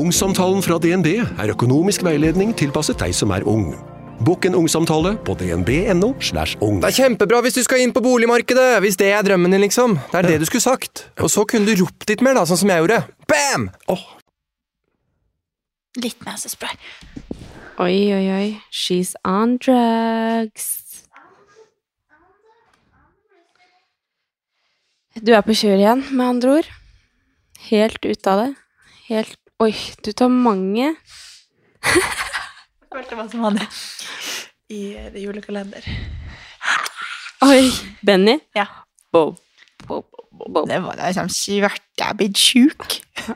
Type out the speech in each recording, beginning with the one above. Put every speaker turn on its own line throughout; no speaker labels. Ungsamtalen fra DNB er økonomisk veiledning tilpasset deg som er ung. Bokk en ungsamtale på dnb.no. slash ung.
Det er kjempebra hvis du skal inn på boligmarkedet, hvis det er drømmen din, liksom. Det er det du skulle sagt. Og så kunne du ropt litt mer, da, sånn som jeg gjorde. Bam! Åh,
Litt nesespray.
Oi, oi, oi. She's on drugs. Du er på kjøret igjen, med andre ord. Helt ute av det. Helt Oi, du tar mange.
Følte meg som han i- i eh, det julekalender.
Oi. Benny.
Ja.
Wow.
Det var liksom svært Jeg er blitt sjuk.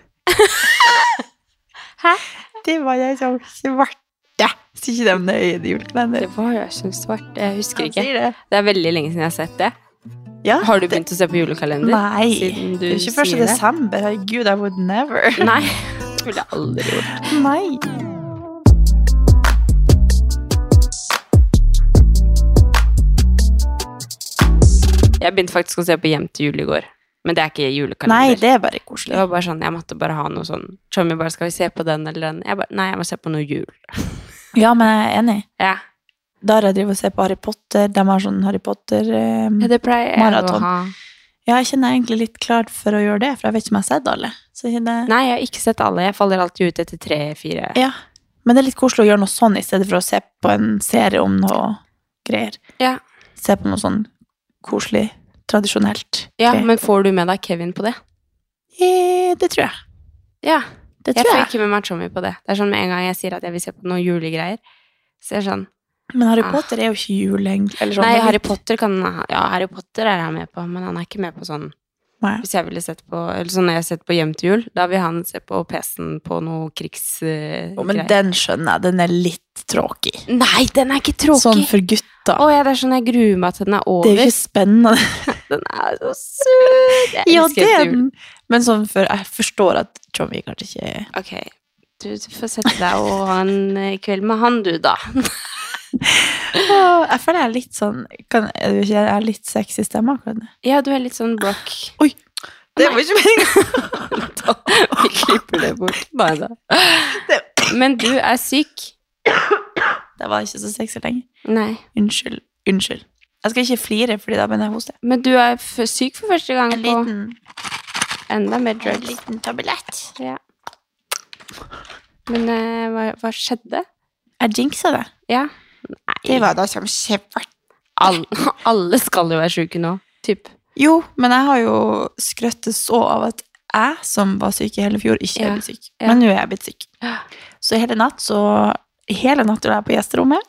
Hæ?
Det var liksom svarte. Sier ikke det om det i det julekalender?
Det var jeg som svart. Jeg husker
Han
ikke.
sier det.
Det er veldig lenge siden jeg har sett det.
Ja,
Har du
det-
begynt å se på julekalender?
Nei.
siden du
det er ikke 1.
sier det?
desember. Herregud, I would never.
Nei. Det ville jeg aldri gjort.
Nei.
Jeg begynte faktisk å se på Hjem til jul i går. Men det er ikke julekalender.
Nei, det er bare
Det
koselig.
var bare sånn, jeg måtte bare ha noe sånn Tommy bare, skal vi se på den eller den? Jeg bare, nei, jeg må se på noe jul.
Ja, men jeg er enig.
Ja,
Der jeg driver og ser på Harry Potter. De har sånn Harry Potter eh,
Ja, det pleier jeg
Maraton.
å ha.
Ja, jeg kjenner jeg er egentlig litt klar for å gjøre det, for jeg vet ikke om jeg har sett alle. Så jeg kjenner,
Nei, jeg har ikke sett alle. Jeg faller alltid ut etter tre-fire.
Ja. Men det er litt koselig å gjøre noe sånn i stedet for å se på en serie om noe greier.
Ja.
Se på noe sånn koselig, tradisjonelt.
Ja,
greier.
men får du med deg Kevin på det?
Eh, Det tror jeg.
Ja,
Det
jeg
tror
får
jeg.
ikke med meg Tommy på det. Det er sånn med en gang jeg sier at jeg vil se på noen julegreier, så er det sånn,
Men Harry
Ah.
Potter er jo ikke jul, egentlig. Eller sånn.
nei,
Det er
Harry
litt-
Potter kan, ja, Harry Potter er han med på, men han er ikke med på sånn,
Nei.
hvis jeg ville sett på, eller sånn når jeg har sett på Hjem til jul, da vil han se på PC-en på noe krigsgreier.
Å, Men den skjønner jeg. Den er litt tråkig.
Nei, den er ikke tråkig!
Sånn for gutta.
Å ja, det er sånn jeg gruer meg til den er
det
over.
er jo ikke spennende.
Den er så søt! Jeg
Ja,
elsker
det er
jul.
den. Men sånn for jeg forstår at Tommy kanskje ikke
Ok, du får sette deg og ha en eh, kveld med han, du, da.
Åh, Jeg føler jeg er litt sånn kan, er du ikke- Jeg er litt sexy stemme akkurat nå.
Ja, du er litt sånn Brock.
Oi! Det var ikke meningen!
Vi klipper det bort. Bare da. Men du er syk.
Det var ikke så sexy lenger.
Nei.
Unnskyld. Unnskyld. Jeg skal ikke flire, fordi da begynner jeg å hoste.
Men du er f syk for første gang
En
på
liten,
enda mer
en
drugs.
liten tablett.
Ja. Men eh, hva, hva skjedde?
Jeg jinxa det.
Ja.
Det var da som svart.
Alle, alle skal jo være syke nå. Typ.
Jo, men jeg har jo skrøtt det så av at jeg som var syk i hele fjor, ikke er
Ja,
blitt syk.
ja.
Men nå er jeg blitt syk.
Ja.
Så hele natt så Hele natt var jeg på gjesterommet.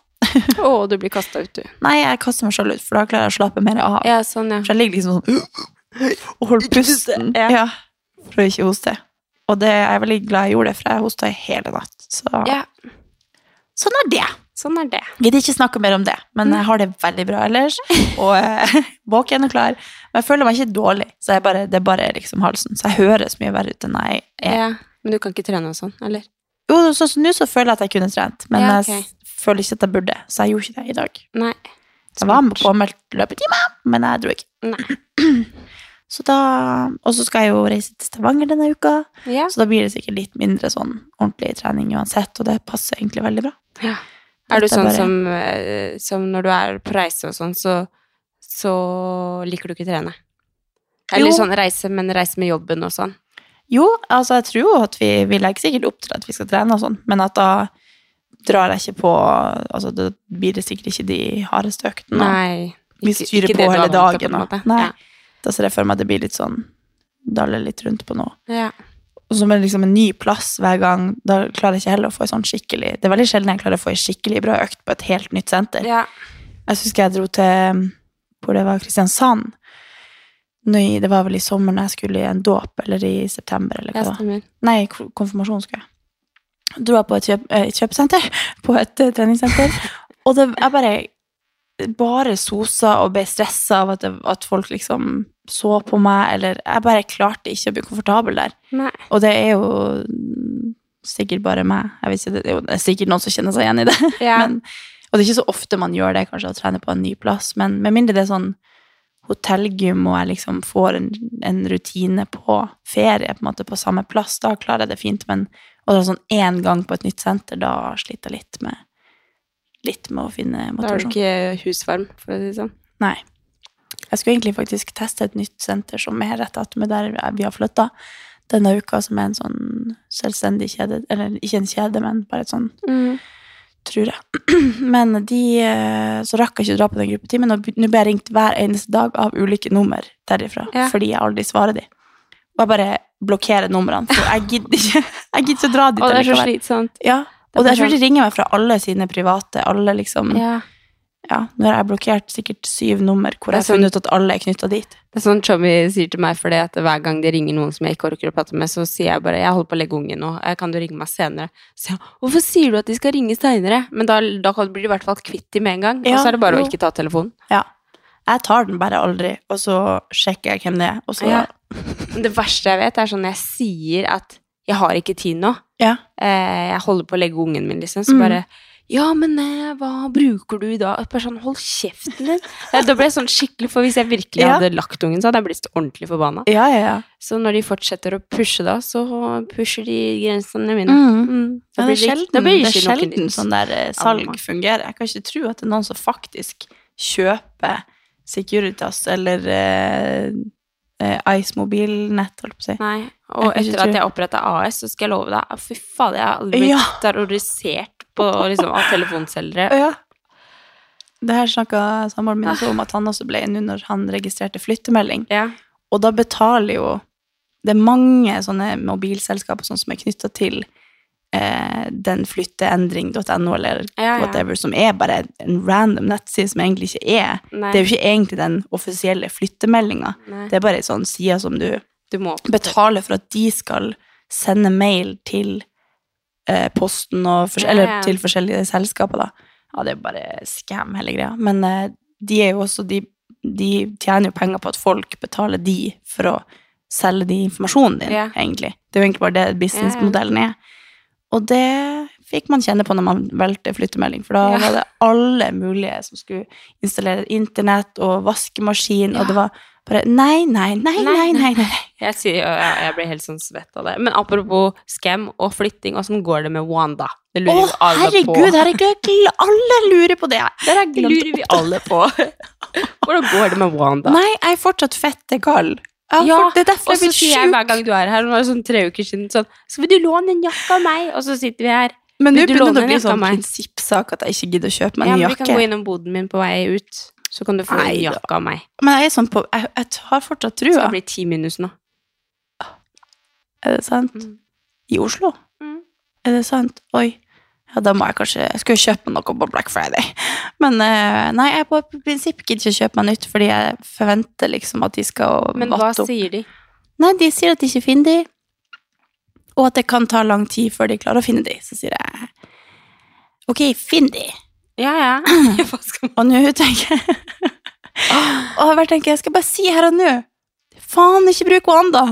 Å, du blir kasta ut, du.
Nei, jeg kaster meg sjøl ut, for da klarer jeg å slappe mer av.
Ja, sånn, ja.
For jeg ligger liksom sånn og holder pusten
Ja.
ja, for å ikke hoste. Og det, jeg er veldig glad jeg gjorde det, for jeg hosta i hele natt. Så.
ja.
Sånn er det.
Sånn er det.
Gidder ikke snakke mer om det, men jeg har det veldig bra ellers. Og eh, våken og klar. Men jeg føler meg ikke dårlig, så jeg bare, det er bare liksom halsen. Så jeg høres mye verre ut enn jeg er.
Ja. Men du kan ikke trene og sånn, eller?
Jo, sånn som nå så føler jeg at jeg kunne trent, men
Ja, ok.
jeg s- føler ikke at jeg burde, så jeg gjorde ikke det i dag.
Nei.
Jeg var med på påmeldt løpetime, men jeg dro ikke.
Nei.
Så da, og så skal jeg jo reise til Stavanger denne uka,
Ja.
så da blir det sikkert litt mindre sånn ordentlig trening uansett, og det passer egentlig veldig bra.
Ja. Er du
Dette er
sånn
bare-
som, eh, som når du er på reise og sånn, så, så liker du ikke trene? Eller
Jo.
sånn reise, men reise med jobben og sånn.
Jo, altså jeg tror jo at vi, vi legger sikkert opp til at vi skal trene og sånn, men at da drar jeg ikke på, altså da blir det sikkert ikke de hardeste øktene.
Nei.
Vi styrer på
det du
hele
er vant til,
dagen,
på en
da.
måte.
Nei. Da ser jeg for meg at det blir litt sånn, daller litt rundt på noe.
Ja. Ja.
Og så med liksom en ny plass hver gang, da klarer jeg ikke heller å få en sånn skikkelig, det er veldig sjelden jeg klarer å få en skikkelig bra økt på et helt nytt senter.
Ja.
um, Jeg husker jeg dro til hvor det var Kristiansand Nei, det var vel i sommeren jeg skulle i en dåp, eller i september, eller hva.
Ja,
det var.
stemmer.
Nei, ko- konfirmasjon skulle jeg. Dro jeg på et, kjøp, eh, et kjøpesenter, på et eh, treningssenter, og det, jeg bare bare sosa og ble stressa av at, det, at folk liksom så på meg, eller jeg bare klarte ikke å bli komfortabel der.
Nei.
Og det er jo mm, sikkert bare meg. Jeg vet ikke, det, er jo, det er sikkert noen som kjenner seg igjen i det.
Ja.
Men, og det er ikke så ofte man gjør det, kanskje, å trene på en ny plass. Men med mindre det er sånn hotellgym, og jeg liksom får en, en rutine på ferie på, en måte, på samme plass, da klarer jeg det fint. Men å dra sånn én gang på et nytt senter, da sliter jeg litt med, litt med å finne
Da er du
motivasjon.
ikke husvarm, for å si det sånn.
Nei. Jeg skulle egentlig faktisk teste et nytt senter som er rett attmed der vi har flytta denne uka, som er en sånn selvstendig kjede, eller ikke en kjede, men bare et sånn,
Mm.
tror jeg. Men de eh, Så rakk jeg ikke å dra på den gruppetimen, og nå blir jeg ringt hver eneste dag av ulike nummer derifra,
Ja.
fordi jeg aldri svarer de. Og jeg bare blokkerer numrene, for jeg gidder ikke jeg gidder ikke å dra dit.
Og det er så
allikevel.
slitsomt.
Ja,
Det er
og jeg tror
sånn-
de ringer meg fra alle sine private, alle liksom
Ja.
ja, nå har jeg blokkert sikkert syv nummer hvor
Det er sånn-
jeg har funnet ut at alle er knytta dit.
Det er sånn Chommy sier til meg, for det at hver gang det ringer noen som jeg ikke orker å prate med, så sier jeg bare 'jeg holder på å legge ungen nå, Eh, kan du ringe meg senere'? Så jeg, 'hvorfor sier du at de skal ringe seinere'? Men da, da kan- blir du i hvert fall kvitt dem med en gang.
Ja,
og så er det bare
jo.
å ikke ta telefonen.
Ja. Jeg tar den bare aldri, og så sjekker jeg hvem det er. Og så, ja.
Ja. Men Det verste jeg vet, er sånn jeg sier at 'jeg har ikke tid nå',
Ja.
eh, jeg holder på å legge ungen min, liksom, så
Mm.
bare ja, men eh, hva bruker du i dag? Bare sånn, hold kjeften din. Eh, Da ble jeg sånn skikkelig, for hvis jeg virkelig
Ja.
hadde lagt ungen, så hadde jeg blitt ordentlig forbanna.
ja, ja, ja.
Så når de fortsetter å pushe da, så pusher de grensene
Mm.
mine. Da
Men det er
blir
sjelden,
da blir
det er
ikke noe
sjelden
nytt.
sånn der eh, salg
Annet.
fungerer. Jeg kan ikke tro at det er noen som faktisk kjøper Securitas eller eh, eh, Ice mobilnett, holdt på å si.
Nei, og
Jeg kan ikke
etter
tro.
at jeg oppretta AS, så skal jeg love deg, ah, fy faen, jeg har aldri blitt
Ja.
terrorisert på, liksom, av telefonselgere.
Ja. Det her snakka samboeren min også om at han også ble nå når han registrerte flyttemelding.
Ja.
Og da betaler jo Det er mange sånne mobilselskaper sånn som er knytta til eh, den flytteendring.no eller
Ja, ja.
whatever, som er bare en random nettside som egentlig ikke er
Nei.
Det er jo ikke egentlig den offisielle flyttemeldinga.
Nei.
Det er bare ei sånn side som du
Du må
betaler for at de skal sende mail til eh, posten og fors-
Ja,
eller
ja.
til forskjellige selskaper, da. Ja, det er bare scam, hele greia. Men eh, de er jo også de, de tjener jo penger på at folk betaler de for å selge de informasjonen din,
Ja.
egentlig. Det er jo egentlig bare det businessmodellen er. Og det fikk man kjenne på når man valgte flyttemelding, for da
Ja.
var det alle mulige som skulle installere internett og vaskemaskin, og det var bare nei, nei, nei,
Nei,
nei, nei, nei.
Jeg, sier, ja, ja, jeg blir helt sånn svett av det. Men apropos scam og flytting, åssen går det med Wanda? Det
Å,
lurer jo alle på.
herregud, herregud, alle lurer på det.
Det der lurer vi alle på. Hvordan går det med Wanda?
Nei, jeg er fortsatt fette gal. Jeg har
Ja,
fått- det er derfor
Og
jeg
så
blir
sier jeg
sjuk.
hver gang du er her, og det var sånn tre uker siden sånn Skal du låne en jakke av meg? Og så sitter vi her.
Men nå
Vil du
begynner det
låne
å
en
bli
jakke av
sånn
meg?
prinsippsak at jeg ikke gidder å kjøpe meg
Ja,
en
men vi kan gå
jakke.
innom boden min på vei ut, så kan du få
Nei
en
da.
jakke av meg.
Men jeg er sånn på Jeg, jeg har fortsatt
Så det
trua.
blir ti minus nå.
Er det sant?
Mm.
I Oslo?
Mm.
Er det sant? Oi. Ja, da må jeg kanskje Jeg skulle jo kjøpe meg noe på Black Friday. Men eh, nei, jeg på prinsipp gidder ikke å kjøpe meg nytt, fordi jeg forventer liksom at de skal
Men hva
vatte opp.
sier de?
Nei, de sier at de ikke finner de, og at det kan ta lang tid før de klarer å finne de. Så sier jeg ok, finn de.
Ja, ja. Hva skal man
Og nå tenker jeg Og jeg bare tenker, jeg skal bare si her og nå. Faen, ikke bruk Wanda!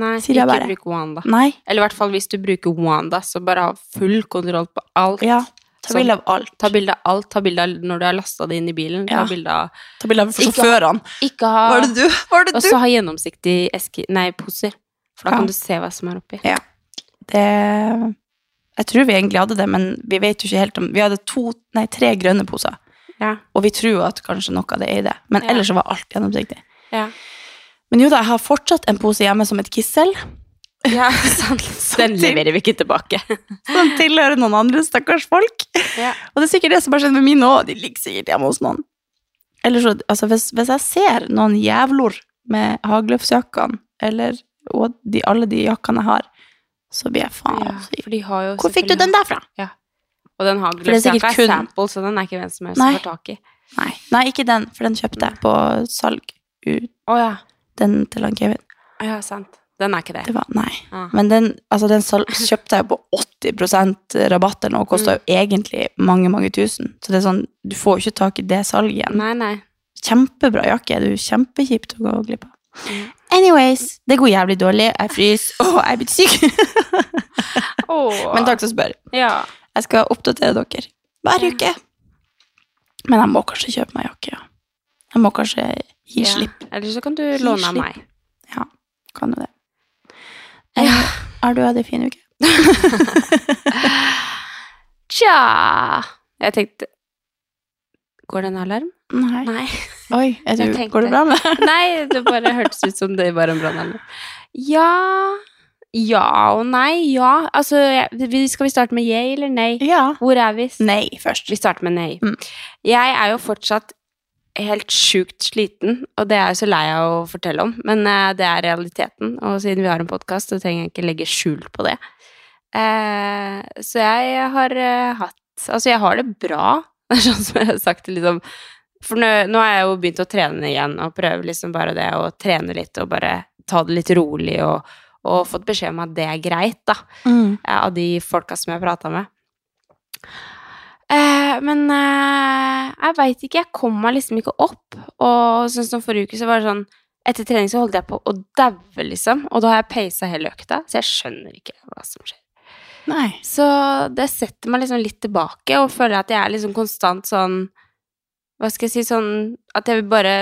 Nei,
Sier jeg
ikke
bare.
bruk Wanda.
Nei.
Eller i hvert fall hvis du bruker Wanda, så bare ha full kontroll på alt.
Ja. Ta bilde av alt.
Ta bilde av alt. Ta bilde av når du har lasta det inn i bilen.
Ja.
Ta bilde av
Ta bilde av
Ikke-
sjåførene.
Ikke ha
Var det du? Var det
Og
du?
så ha gjennomsiktig eske... Nei, poser. For da
Ja.
kan du se hva som er oppi.
Ja. Det Jeg tror vi egentlig hadde det, men vi vet jo ikke helt om Vi hadde to, nei, tre grønne poser,
Ja.
og vi tror jo at kanskje noe av det er i det, men
Ja.
ellers så var alt gjennomsiktig.
Ja.
Men jo da, jeg har fortsatt en pose hjemme som et kissel.
Ja, sant. Den leverer vi ikke tilbake.
Som tilhører noen andre stakkars folk.
Ja.
Og det er sikkert det som bare skjedde med mine òg. De ligger sikkert hjemme hos noen. Eller så, altså hvis, hvis jeg ser noen jævlor med hagløfsjakkene, eller og de, alle de jakkene jeg har, så blir jeg faen syk.
for de har jo
Hvor fikk du
selvfølgelig-
den derfra?
Og den har
det er sikkert
gløsjakka er
kun-
sample, så den er ikke hvem som helst
Nei.
som får tak i.
Nei. Nei, ikke den, for den kjøpte jeg på salg. ut-
Å ja.
Den til han Kevin.
Ja, sant. Den er ikke det.
Det var, nei.
Ah.
Men den, altså den sal kjøpte jeg på 80 rabatt eller noe, og kosta jo egentlig mange, mange tusen. Så det er sånn, du får jo ikke tak i det salget igjen.
Nei, nei.
Kjempebra jakke, det er jo kjempekjipt å gå glipp av. Anyways, det går jævlig dårlig, jeg fryser, og jeg er blitt syk.
Åh.
Men takk som spør.
Ja.
Jeg skal oppdatere dere hver
Ja.
uke. Men jeg må kanskje kjøpe meg jakke, ja. Jeg må kanskje gi
ja.
slipp.
Eller så kan du
Gi
låne av
slipp.
meg.
Ja, kan jo det. Eh, Har du hatt en fin uke?
Tja Jeg tenkte Går det en alarm?
Nei.
Nei.
Oi, er
Jeg
du,
tenkte-
går det bra med deg?
Nei, det bare hørtes ut som det var en brannalarm. Ja Ja og nei. Ja. Altså, jeg, vi- skal vi starte med ja eller nei?
Ja.
Hvor er vi?
Nei, først.
Vi starter med nei.
Mm.
Jeg er jo fortsatt helt sjukt sliten, og det er jeg så lei av å fortelle om, men eh, det er realiteten. Og siden vi har en podkast, så trenger jeg ikke legge skjul på det. Eh, så jeg har eh, hatt Altså, jeg har det bra, Det er sånn som jeg har sagt det, liksom. For nå, nå har jeg jo begynt å trene igjen, og prøve liksom bare det å trene litt og bare ta det litt rolig, og, og fått beskjed om at det er greit, da eh, av de folka som jeg prata med. Eh, men eh, jeg veit ikke. Jeg kom meg liksom ikke opp. Og sånn som forrige uke, så var det sånn Etter trening så holdt jeg på å daue, liksom. Og da har jeg peisa hele økta, så jeg skjønner ikke hva som skjer.
Nei.
Så det setter meg liksom litt tilbake, og føler at jeg er liksom konstant sånn Hva skal jeg si sånn At jeg vil bare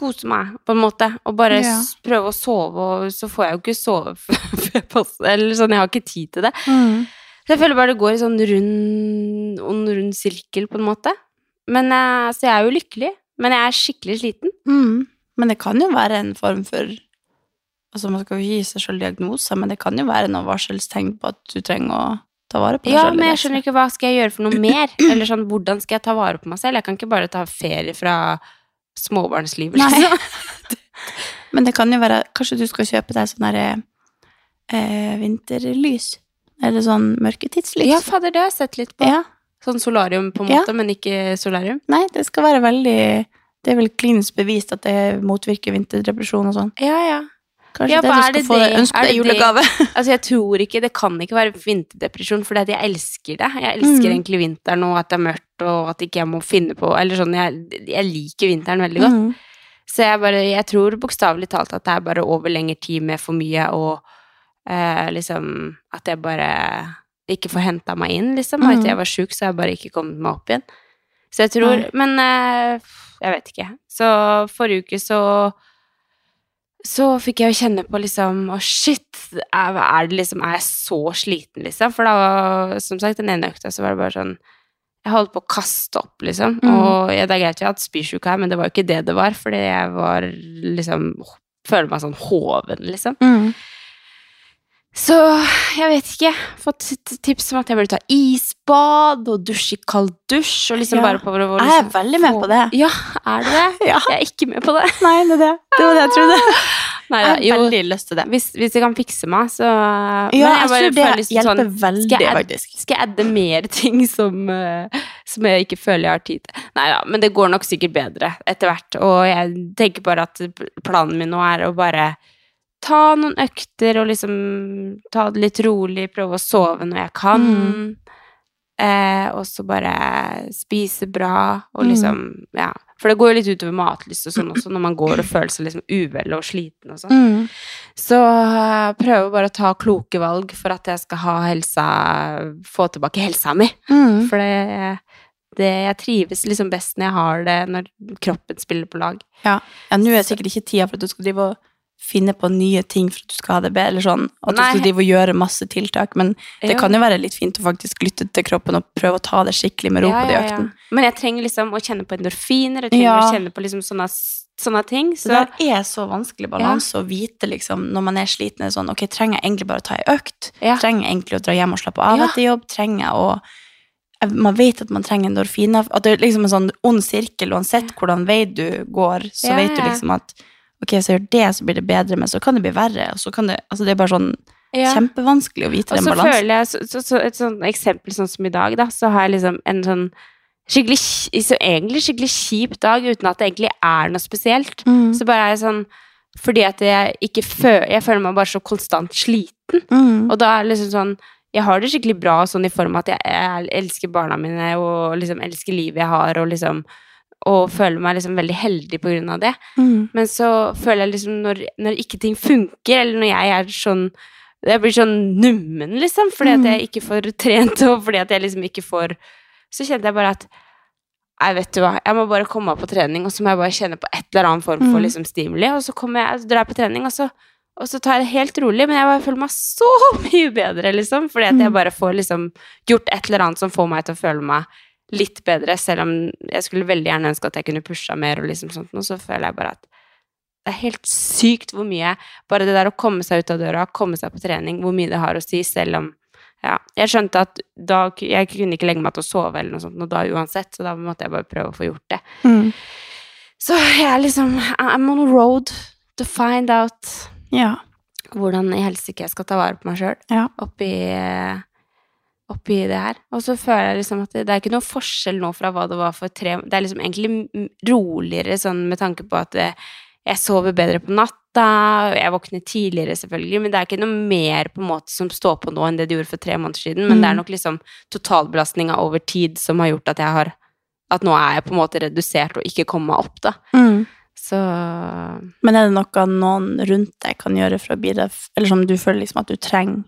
kose meg, på en måte, og bare
Ja.
s- prøve å sove, og så får jeg jo ikke sove før jeg passer Eller sånn, jeg har ikke tid til det. Så jeg føler bare det går i sånn rund, ond rund sirkel, på en måte. Men, eh, så jeg er jo lykkelig, men jeg er skikkelig sliten.
Mm. Men det kan jo være en form for Altså, man skal jo ikke gi seg selv diagnoser, men det kan jo være noen varselstegn på at du trenger å ta vare på deg
Ja,
selv.
men jeg skjønner ikke hva skal jeg gjøre for noe mer? Eller sånn, hvordan skal jeg ta vare på meg selv? Jeg kan ikke bare ta ferie fra småbarnslivet, liksom.
Men det kan jo være Kanskje du skal kjøpe deg sånn derre eh, vinterlys? Eller sånn mørketidslys?
Ja, fader, det har jeg sett litt på.
Ja.
Sånn solarium, på en
Ja.
måte, men ikke solarium.
Nei, det skal være veldig Det er vel klinisk bevist at det motvirker vinterdepresjon og sånn.
Ja, ja.
Kanskje
Ja,
det
hva
du
er
skal
det
få
det-
deg ønske
er
deg i
det det-
julegave.
Altså, jeg tror ikke Det kan ikke være vinterdepresjon, for jeg elsker det. Jeg elsker
Mm.
egentlig vinteren og at det er mørkt, og at ikke jeg må finne på Eller sånn, jeg, jeg liker vinteren veldig godt.
Mm.
Så jeg, bare, jeg tror bokstavelig talt at det er bare over lengre tid med for mye, og eh, liksom At jeg bare ikke får henta meg inn, liksom. Og
Mhm.
etter jeg var sjuk, så har jeg bare ikke kommet meg opp igjen. Så jeg tror
Nei.
Men eh, jeg vet ikke. Så forrige uke så så fikk jeg jo kjenne på liksom Å, shit! Er, er, det liksom, er jeg så sliten, liksom? For da, var- som sagt, den ene økta så var det bare sånn jeg holdt på å kaste opp, liksom.
Mm.
Og ja, det er greit jeg har hatt spysjuke her, men det var jo ikke det det var. Fordi jeg var liksom Føler meg sånn hoven, liksom.
Mm.
Så jeg vet ikke. Fått t- tips om at jeg burde ta isbad og dusje i kald dusj. Og liksom
Ja.
bare på hvor, hvor,
Jeg er
liksom,
veldig med på det.
Ja, er du det?
Ja.
Jeg er ikke med på det.
Nei, det er det. Det var det jeg trodde.
Nei,
Jeg
ja,
har
jo,
veldig lyst til det.
hvis, hvis jeg kan fikse meg, så Ja,
Ja, jeg, tror det
sånn-
hjelper veldig,
liksom skal jeg, add,
faktisk.
skal jeg adde mer ting som, eh, som jeg ikke føler jeg har tid til? Nei da, men det går nok sikkert bedre etter hvert. Og jeg tenker bare at planen min nå er å bare ta noen økter og liksom ta det litt rolig, prøve å sove når jeg kan.
Mm.
Eh, og så bare spise bra og
Mm.
liksom Ja. For det går jo litt utover matlyst og sånn også, når man går og føler seg liksom uvel og sliten og sånn.
Mm.
Så jeg prøver bare å ta kloke valg for at jeg skal ha helsa, få tilbake helsa mi.
Mm.
For det, det, jeg trives liksom best når jeg har det, når kroppen spiller på lag.
Ja, nå er sikkert ikke tida for at du skal drive og finne på nye ting for at du skal ha det bedre, eller sånn, at du
Nei.
skal drive og gjøre masse tiltak, men det
Ja.
kan jo være litt fint å faktisk lytte til kroppen og prøve å ta det skikkelig med ro på de økten.
Men jeg trenger liksom å kjenne på endorfiner, jeg trenger
Ja.
å kjenne på liksom sånne, s- sånne ting.
Så
Så,
det der er så vanskelig balanse å vite liksom, når man er sliten. er det Sånn, ok, Trenger jeg egentlig bare å ta ei økt?
Ja.
Trenger jeg egentlig å dra hjem og slappe av
Ja.
etter jobb? Trenger jeg å jeg- Man vet at man trenger endorfiner. At det er liksom en sånn ond sirkel. Uansett hvordan vei du går, så
Ja,
vet du
ja.
liksom at ok, så gjør det, så blir det bedre, men så kan det bli verre. Og så kan det, altså det er bare sånn
ja.
kjempevanskelig å vite
Og
den
så
balansen.
føler jeg, så, så, så et sånn eksempel sånn som i dag, da, så har jeg liksom en sånn skikkelig, kj- så egentlig skikkelig kjip dag uten at det egentlig er noe spesielt.
Mm.
Så bare er jeg sånn Fordi at jeg ikke føler Jeg føler meg bare så konstant sliten.
Mm,
Og da er det liksom sånn Jeg har det skikkelig bra sånn i form av at jeg, jeg elsker barna mine og liksom elsker livet jeg har, og liksom og føler meg liksom veldig heldig på grunn av det.
Mm.
Men så føler jeg liksom når, når ikke ting funker, eller når jeg er sånn Jeg blir sånn nummen, liksom, fordi at jeg ikke får trent, og fordi at jeg liksom ikke får Så kjente jeg bare at Nei, vet du hva, jeg må bare komme opp på trening, og så må jeg bare kjenne på et eller annet form for liksom, stimuli. Og så kommer jeg, så drar jeg på trening, og så, og så tar jeg det helt rolig. Men jeg bare føler meg så mye bedre, liksom. Fordi at jeg bare får liksom gjort et eller annet som får meg til å føle meg litt bedre. Selv om jeg skulle veldig gjerne ønske at jeg kunne pusha mer og liksom sånt noe, så føler jeg bare at det er helt sykt hvor mye Bare det der å komme seg ut av døra, komme seg på trening, hvor mye det har å si, selv om ja. Jeg skjønte at da ku- Jeg kunne ikke legge meg til å sove eller noe sånt og da uansett, så da måtte jeg bare prøve å få gjort det.
mm.
Så jeg er liksom I'm on a road to find out
Ja.
hvordan i helsike jeg skal ta vare på meg sjøl
Ja.
oppi, oppi det her. Og så føler jeg liksom at det, det er ikke noe forskjell nå fra hva det var for tre Det er liksom egentlig m- roligere sånn med tanke på at eh, jeg sover bedre på natta, og jeg våkner tidligere selvfølgelig, men det er ikke noe mer på en måte som står på nå enn det det gjorde for tre måneder siden. Men det er nok liksom totalbelastninga over tid som har gjort at jeg har At nå er jeg på en måte redusert og ikke kommer meg opp, da.
Mm.
Så
Men er det noe noen rundt deg kan gjøre for å bidra, f- eller som du føler liksom at du trenger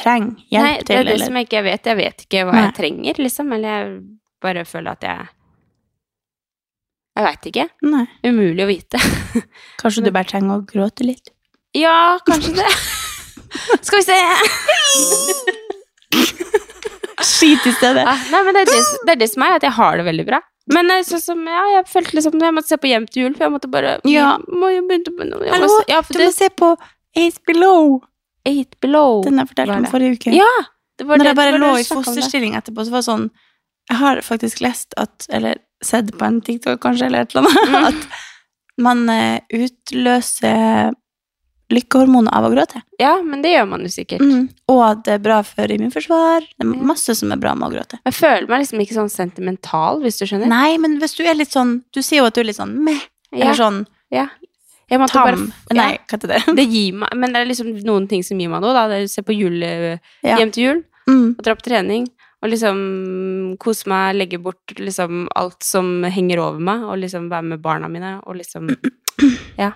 treng hjelp
Nei, det
til?
er det
eller?
som jeg ikke vet. Jeg vet ikke hva
Nei.
jeg trenger, liksom. Eller jeg bare føler at jeg Jeg veit ikke.
Nei.
Umulig å vite.
Kanskje du bare trenger å gråte litt?
Ja, kanskje det. Skal vi se
Skit i stedet!
Ah, Nei, men det er det, det er det som er, at jeg har det veldig bra. Men eh, sånn som, ja, jeg følte liksom Jeg måtte se på Hjem til jul, for jeg måtte bare mm,
Ja.
må jo begynne på noe. Jeg
Hallo,
må se- ja, for
du må
det,
se på Ace Below!
Eight Below.
Den jeg fortalte
Hva er
om
det?
forrige uke.
Ja! Det var
Når
det-
jeg bare
det var
lå i
det du snakket om det.
fosterstilling etterpå, så var det sånn Jeg har faktisk lest at Eller sett på en TikTok, kanskje, eller et eller
Mm.
annet, at man eh, utløser lykkehormoner av å gråte. Mm.
Ja, men det gjør man jo sikkert.
Og at det er bra for immunforsvar. Det er masse som er bra med å gråte.
Jeg føler meg liksom ikke sånn sentimental, hvis du skjønner.
Nei, men hvis du er litt sånn Du sier jo at du er litt sånn meh,
Ja.
eller sånn
Ja. Jeg måtte
tam.
bare
Nei,
ja.
hva heter det?
Det gir meg, men det er liksom noen ting som gir meg noe. Da. Det er å se på jul, eh,
Ja.
hjem til jul,
Mm.
og dra på trening. Og liksom kose meg, legge bort liksom alt som henger over meg, og liksom være med barna mine, og liksom Ja.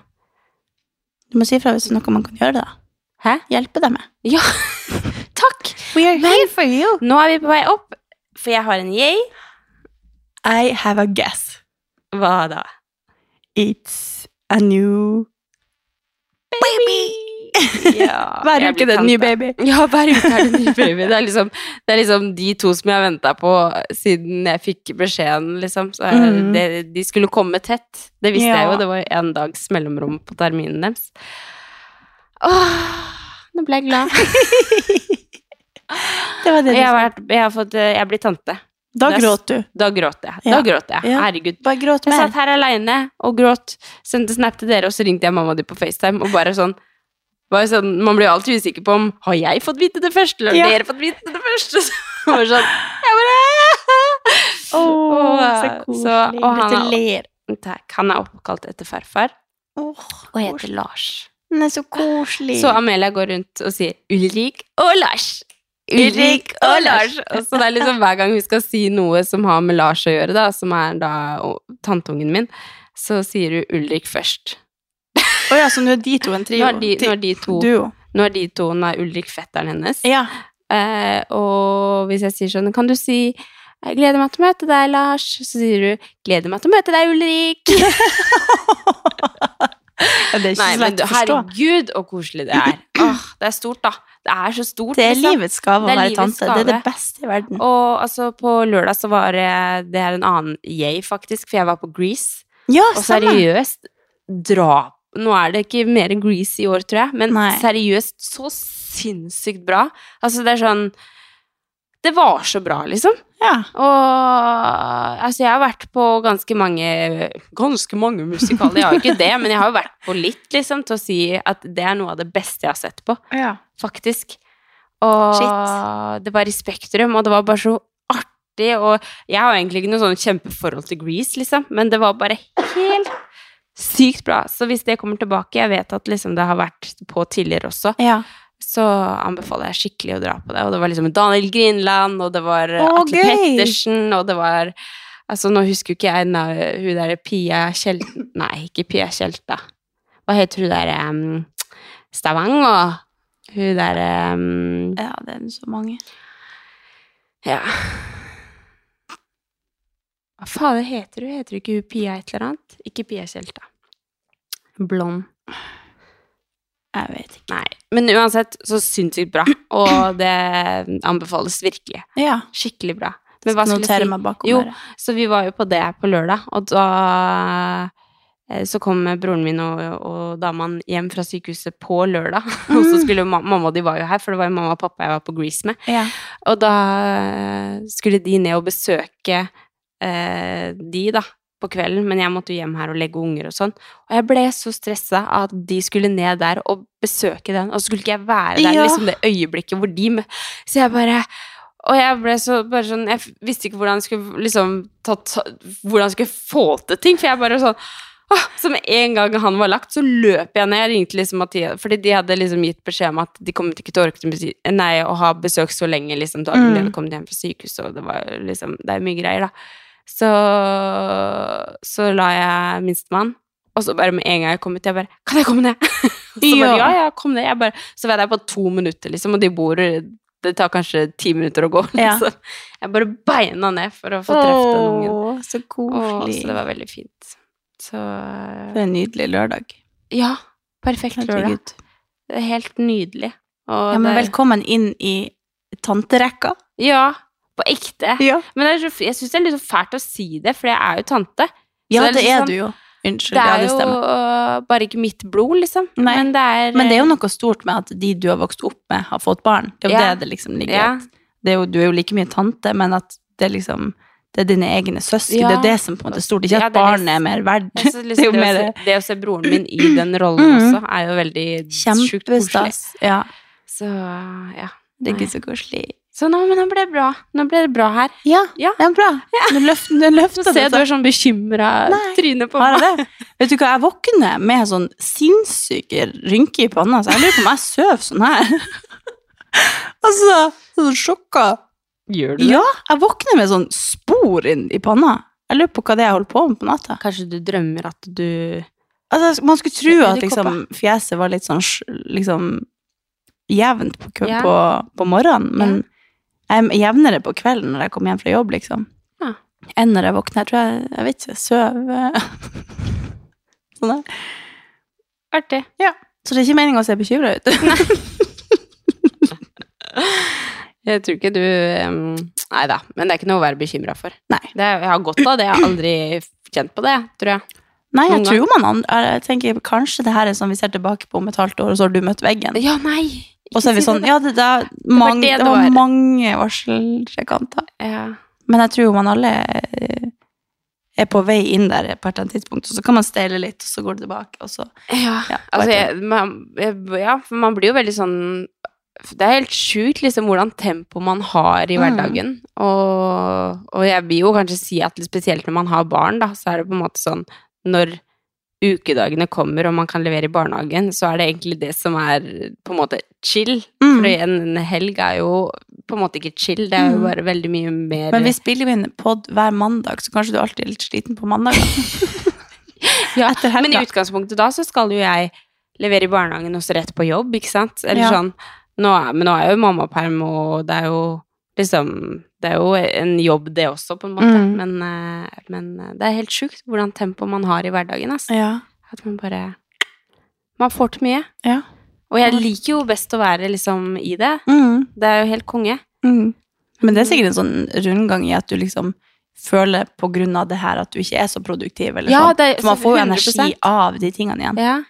Du må si ifra hvis det er noe man kan gjøre, da.
Hæ?
Hjelpe deg med.
Ja! Takk!
We are here for you.
Nå er vi på vei opp, for jeg har en yay.
I have a guess.
Hva da?
It's a new baby!
Ja,
Hver
jeg
uke
blir
det er en ny
tante.
baby.
Ja, hver uke er det en ny baby. Det er liksom, det er liksom de to som jeg har venta på siden jeg fikk beskjeden, liksom. Så er
Mm.
det, de skulle komme tett. Det visste jeg
Ja.
jo. Det var en dags mellomrom på terminen deres. Åh, nå ble jeg glad.
Det liksom var det du
Jeg har,
sa.
vært, jeg har fått eh, Jeg blir tante.
Da
det er-
gråt du.
Da gråt jeg. Da
Ja.
gråt jeg.
Ja.
Herregud.
Bare gråt
Jeg
mer.
satt her aleine og gråt, sendte snap til dere, og så ringte jeg mamma di på FaceTime, og bare sånn bare sånn, Man blir jo alltid usikker på om Har jeg fått vite det først, eller har
Ja.
dere fått vite det først? Og Så var det sånn Jeg bare
Åh,
Og, eh, så- og han
Dette
er-
ler.
Takk. Han er oppkalt etter farfar
Åh,
og heter Lars.
den er så koselig.
Så Amelia går rundt og sier Ulrik og Lars. Ulrik
Ulrik
og
og
Lars. Og så det er liksom hver gang hun skal si noe som har med Lars å gjøre, da, som er da og- tanteungen min, så sier hun Ulrik først.
Å ja, så nå er de to en trio.
Nå er de, nå er de to
Duo.
Nå er de to, nå er Ulrik fetteren hennes.
Ja.
Eh, og hvis jeg sier sånn, kan du si «Jeg 'Gleder meg til å møte deg, Lars', så sier du 'Gleder meg til å møte deg, Ulrik'.
Det er ikke
Nei,
så
men
lett
du,
å forstå.
herregud, så koselig det er. Åh, det er stort, da. Det er så stort.
Det er
liksom.
livets gave å
Det er
være
livets
tante. Det er det
gave.
beste i verden.
Og altså, på lørdag så var eh, det er en annen jeg, faktisk, for jeg var på Grease.
Ja,
Og
samme.
seriøst, drap Nå er det ikke mer enn Grease i år, tror jeg, men
Nei.
seriøst, så sinnssykt bra. Altså, det er sånn Det var så bra, liksom.
Ja.
Og altså, jeg har vært på ganske mange Ganske mange musikaler, jeg har ikke det, men jeg har jo vært på litt, liksom, til å si at det er noe av det beste jeg har sett på
ja.
faktisk. Og det var i Spektrum, og det var bare så artig. Og jeg har egentlig ikke noe sånn kjempeforhold til Grease, liksom, men det var bare helt Sykt bra. Så hvis det kommer tilbake, jeg vet at liksom det har vært på tidligere også,
Ja.
så anbefaler jeg skikkelig å dra på det. Og det var liksom Daniel Grinland, og det var eh,
Å,
Atle
gøy!
Pettersen, og det var Altså, nå husker jo ikke jeg na, hun der Pia Kjelt... Nei, ikke Pia Kjelta. Hva heter hun der um, Stavanger? Hun der um,
ja, det er så mange.
Ja. Hva fader heter hun? Heter hun ikke hun Pia et eller annet? Ikke Pia Kjelta. Blond.
Jeg vet ikke.
Nei. Men uansett, så sinnssykt bra. Og det anbefales virkelig.
Ja.
Skikkelig bra. Men hva
Notere
skulle jeg si?
meg bakom
Jo,
her.
så vi var jo på det på lørdag, og da eh, så kom broren min og, og damene hjem fra sykehuset på lørdag. Og
Mm.
så skulle jo ma mamma og de var jo her, for det var jo mamma og pappa jeg var på Grease med.
Ja.
Og da eh, skulle de ned og besøke eh, de, da, på kvelden. Men jeg måtte jo hjem her og legge unger og sånn. Og jeg ble så stressa at de skulle ned der og besøke den, og så skulle ikke jeg være der
Ja.
liksom det øyeblikket hvor de mø- Så jeg bare og jeg ble så bare sånn Jeg f- visste ikke hvordan jeg skulle liksom ta, ta, Hvordan jeg skulle få til ting, for jeg bare sånn Åh, så med en gang han var lagt, så løp jeg ned. Jeg ringte liksom Mathias, fordi de hadde liksom gitt beskjed om at de kom ikke til å orke til besi- nei, å ha besøk så lenge. liksom, Da
Mm.
de hadde kommet hjem fra sykehuset, og det var jo liksom, det er mye greier, da. Så, så la jeg minstemann, og så bare med en gang jeg kom ut, jeg bare Kan jeg komme ned? Og så bare,
Ja.
ja, ja, kom ned. Jeg bare, så var jeg der på to minutter, liksom, og de bor Det tar kanskje ti minutter å gå.
Ja.
Liksom. Jeg bare beina ned for å få truffet den ungen.
Åh, så
Åh,
koselig.
så det var veldig fint. Så
Det er en nydelig lørdag.
Ja, perfekt lørdag.
Herregud.
Det er helt nydelig. Og
Ja, men
det-
velkommen inn i tanterekka.
Ja, på ekte.
Ja,
Men det er så, jeg syns det er litt så fælt å si det, for jeg er jo tante.
ja
Så
det
det er
er
liksom-
du jo. Unnskyld,
Det
ja,
er
det
jo
stemmer.
øh, bare ikke mitt blod, liksom.
Nei.
Men det er eh,
Men det er jo noe stort med at de du har vokst opp med, har fått barn. Det er jo
Ja.
det det liksom ligger i.
ja.
Det er jo, du er jo like mye tante, men at det er liksom det er dine egne søsken.
Ja.
Det er jo det som på en måte er stort. Ikke
Ja,
at
det er det-
barnet er mer verdt.
Jeg synes
Det er
liksom
jo
det,
mer
å se, det å se broren min i den rollen
Mm.
også, er jo veldig sjukt koselig.
kjempestas. Ja,
Så ja.
det er
Nei.
ikke så koselig.
Så nå, men nå ble det bra. Nå ble det bra her.
Ja,
Ja.
det er bra. Nå løft- nå
Så
løfter
ser jeg du
det
er sånn bekymra
Nei.
tryne på
Har
meg.
jeg det? Vet du hva, jeg våkner med sånn sinnssyk rynke i panna, så jeg lurer på om jeg sover sånn her. altså, sånn sjokka.
Gjør
Ja, jeg våkner med sånn spor inn i panna. Jeg lurer på hva det er jeg holder på med på natta.
Kanskje du drømmer at du
Altså, man skulle tro at liksom,
Edderkopper.
fjeset var litt sånn sj- liksom, jevnt på, kø-
Ja.
på, på morgenen, men jeg er jevnere på kvelden når jeg kommer hjem fra jobb, liksom.
Ja.
Enn når jeg våkner. Jeg tror jeg, jeg vet ikke, jeg sover sånn der.
Artig.
Så det er ikke meningen å se bekymra ut.
Jeg tror ikke du um, Nei da, men det er ikke noe å være bekymra for.
Nei.
Det, er- jeg har godt av det. Jeg har aldri kjent på det, tror jeg.
Nei, jeg
Noen
tror man an- Jeg tenker kanskje det her er sånn vi ser tilbake på om et halvt år, og så har du møtt veggen.
Ja, nei!
Og så er vi
Ikke si
sånn
det.
Ja, det, der, mange,
det
det,
det
var
var.
mange varseltrekanter.
Ja.
Men jeg tror man alle eh, er på vei inn der på et eller annet tidspunkt, og så kan man steile litt, og så går det tilbake, og så
Ja,
Ja,
altså
vet
jeg, man, jeg, Ja, for man blir jo veldig sånn Det er helt sjukt liksom hvordan tempo man har i
Mm.
hverdagen. Og, og jeg vil jo kanskje si at spesielt når man har barn, da, så er det på en måte sånn når ukedagene kommer og man kan levere i barnehagen, så er det egentlig det som er på en måte chill.
Mm.
For en en helg er jo på en måte ikke chill, det er jo
Mm.
bare veldig mye mer
Men vi spiller jo inn pod hver mandag, så kanskje du alltid er litt sliten på mandag.
Ja,
Etter helga.
Men i utgangspunktet da, så skal jo jeg levere i barnehagen og så rett på jobb, ikke sant? Eller
Ja.
sånn, nå er, men nå er jo mammaperm, og det er jo liksom, det er jo en jobb det også, på en måte.
Mm.
Men, eh, men eh, det er helt sjukt hvordan tempo man har i hverdagen, ass.
ja.
At man bare, man får til mye.
Ja.
Og jeg liker jo best å være liksom i det.
Mm,
Det er jo helt konge.
mm. Men det er sikkert en sånn rundgang i at du liksom føler på grunn av det her at du ikke er så produktiv, eller
Ja,
sånn.
det er-
For man får jo
100%.
energi av de tingene igjen.
Ja.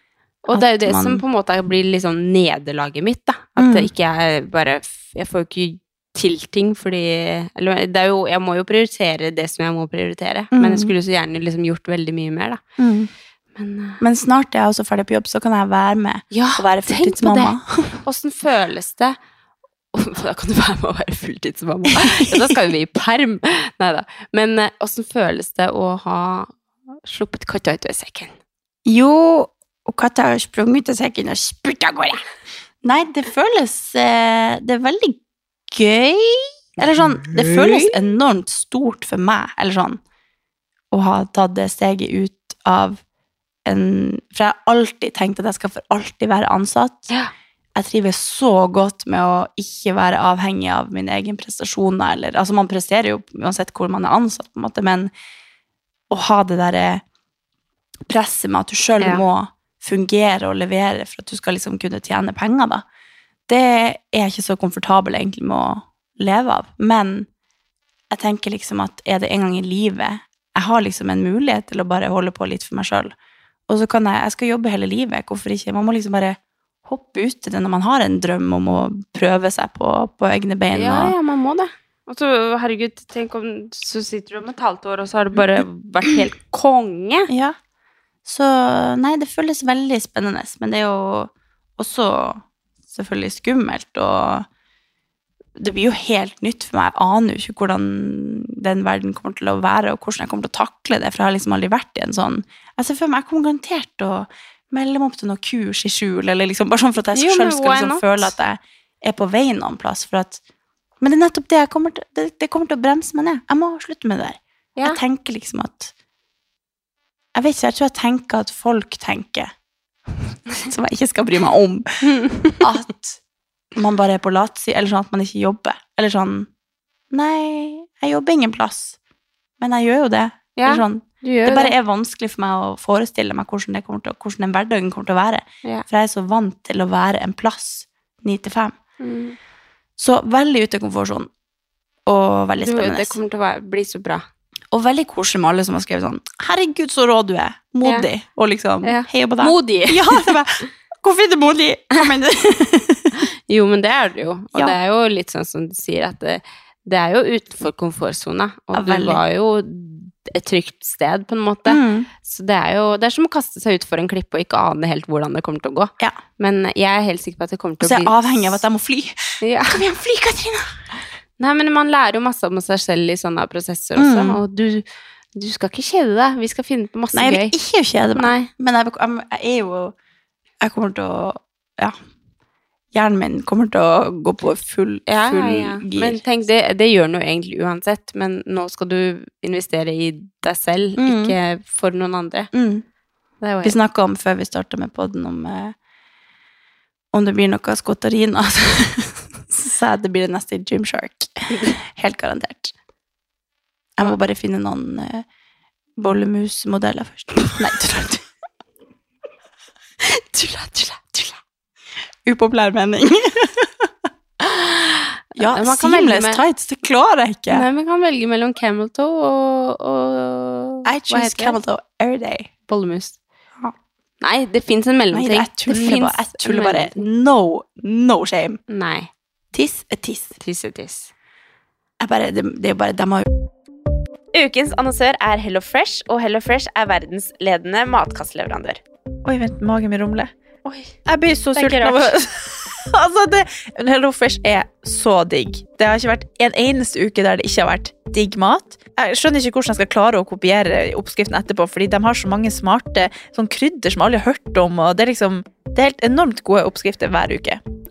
Og det er jo
At
det
man-
som på en måte blir liksom nederlaget mitt, da. At
Mm.
det ikke er bare Jeg får jo ikke til ting fordi Eller det er jo Jeg må jo prioritere det som jeg må prioritere.
Mm.
Men jeg skulle så gjerne liksom gjort veldig mye mer, da.
Mm.
Men eh,
Men snart er jeg også ferdig på jobb, så kan jeg være med
ja,
og være
tenk på
fulltidsmamma.
det! Åssen føles det? Åh, Da kan du være med og være fulltidsmamma. Ja, da skal jo vi i perm! eh, Nei da. Men åssen føles det å ha sluppet katta ut av sekken?
Jo, og katta har sprunget ut av sekken og spurt av gårde. Nei, det føles eh, Det er veldig gøy. Eller sånn, det
Gøy?
føles enormt stort for meg, eller sånn, å ha tatt det steget ut av en For jeg har alltid tenkt at jeg skal for alltid være ansatt.
Ja.
Jeg trives så godt med å ikke være avhengig av mine egne prestasjoner. Eller, altså man presterer jo uansett hvor man er ansatt, på en måte, men å ha det derre presset med at du sjøl
Ja.
må fungere og levere for at du skal liksom kunne tjene penger, da, det er jeg ikke så komfortabel egentlig med å leve av. Men jeg tenker liksom at er det en gang i livet Jeg har liksom en mulighet til å bare holde på litt for meg sjøl. Og så kan jeg Jeg skal jobbe hele livet, hvorfor ikke? Man må liksom bare hoppe ut i det når man har en drøm om å prøve seg på, på egne bein.
Ja,
og-
ja, man må det. Og så, herregud, tenk om så sitter du om et halvt år, og så har du bare vært helt konge.
Ja. Så nei, det føles veldig spennende, men det er jo også selvfølgelig skummelt, og det blir jo helt nytt for meg. Jeg aner jo ikke hvordan den verden kommer til å være, og hvordan jeg kommer til å takle det, for jeg har liksom aldri vært i en sånn Jeg ser for meg jeg kommer garantert til å melde meg opp til noe kurs i skjul, eller liksom bare sånn for at jeg
Jo, men
sjøl skal
why
liksom
not?
føle at jeg er på vei noen plass, for at Men det er nettopp det jeg kommer til Det, det kommer til å bremse meg ned. Jeg må slutte med det der.
Ja.
Jeg tenker liksom at Jeg vet ikke, jeg tror jeg tenker at folk tenker Som jeg ikke skal bry meg om At man bare er på latsida, eller sånn at man ikke jobber. Eller sånn Nei, jeg jobber ingen plass. Men jeg gjør jo det.
Ja,
eller sånn.
Du gjør
Det
jo
bare er vanskelig for meg å forestille meg hvordan, det kommer til, å- hvordan den hverdagen kommer til å være.
Ja.
For jeg er så vant til å være en plass ni til fem.
Mm.
Så veldig ute av komfortsonen. Og veldig
Du,
spennende.
det kommer til å være, bli så bra.
Og veldig koselig med alle som har skrevet sånn Herregud, så rå du er. Modig. Og liksom
Ja.
Heia på deg.
Modig!
Ja, det er bare, Hvorfor er du modig? Hva mener du?
Jo, men det er det jo. Og
Ja.
det er jo litt sånn som du sier, at det, det er jo utenfor komfortsona. Og
Ja,
du
veldig.
var jo et trygt sted, på en måte.
Mm.
Så det er jo det er som å kaste seg utfor en klippe og ikke ane helt hvordan det kommer til å gå.
Ja.
Men jeg er helt sikker på at det kommer
Og
til
så
å
er
bli
jeg avhengig av at jeg må fly.
ja.
Kom igjen, fly, Katrine!
Nei, men man lærer jo masse om seg selv i sånne prosesser også.
Mm.
Og du, du skal ikke kjede deg. Vi skal finne på masse
Nei, jeg
gøy.
vil ikke kjede meg.
Nei.
Men jeg, jeg er jo Jeg kommer til å Ja. Hjernen min kommer til å gå på full,
Ja,
full
ja, ja.
gir.
Men tenk, det, det gjør den jo egentlig uansett. Men nå skal du investere i deg selv,
Mm.
ikke for noen andre.
mm.
Det er jo
Vi snakka om før vi starta med podden om eh, om det blir noe skotterina. Så sa jeg at det blir det neste i Gymshark. Helt garantert. Jeg må bare finne noen eh, bollemusmodeller først. Nei, tulla. tulla. Tulla, tulla, tulla. Upopulær mening. ja,
Men man kan velge
seamless
med-
tights, det klarer jeg ikke.
Nei, men kan velge mellom camel toe og, og
I choose
heter det?
camel toe every day.
bollemus.
Ja.
Nei, det fins en
Nei,
mellomting.
jeg tuller
finnes
bare. Jeg tuller
en
bare.
mellomting.
No, no shame.
Nei.
Tiss er tiss.
Tiss er tiss.
Jeg bare, det, det er jo bare, de har jo
Ukens annonsør er Hello Fresh, og Hello Fresh er verdensledende matkastleverandør.
Oi, vent, magen min rumler.
Oi.
Jeg blir så
Det er
sulten
ikke
av å Altså, det men Hello Fresh er så digg. Det har ikke vært en eneste uke der det ikke har vært digg mat. Jeg skjønner ikke hvordan jeg skal klare å kopiere oppskriften etterpå, fordi de har så mange smarte sånn krydder som alle har hørt om, og det er liksom Det er helt enormt gode oppskrifter hver uke.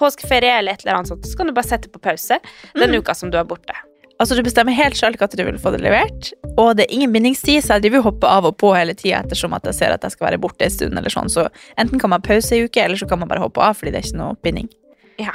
påskeferie eller et eller annet sånt, så kan du bare sette på pause den uka som du er borte.
Altså, du bestemmer helt sjøl når du vil få det levert, og det er ingen bindingstid, så jeg driver og hopper av og på hele tida ettersom at jeg ser at jeg skal være borte en stund, eller sånn, så enten kan man ha pause i uke, eller så kan man bare hoppe av fordi det er ikke noe binding.
Ja,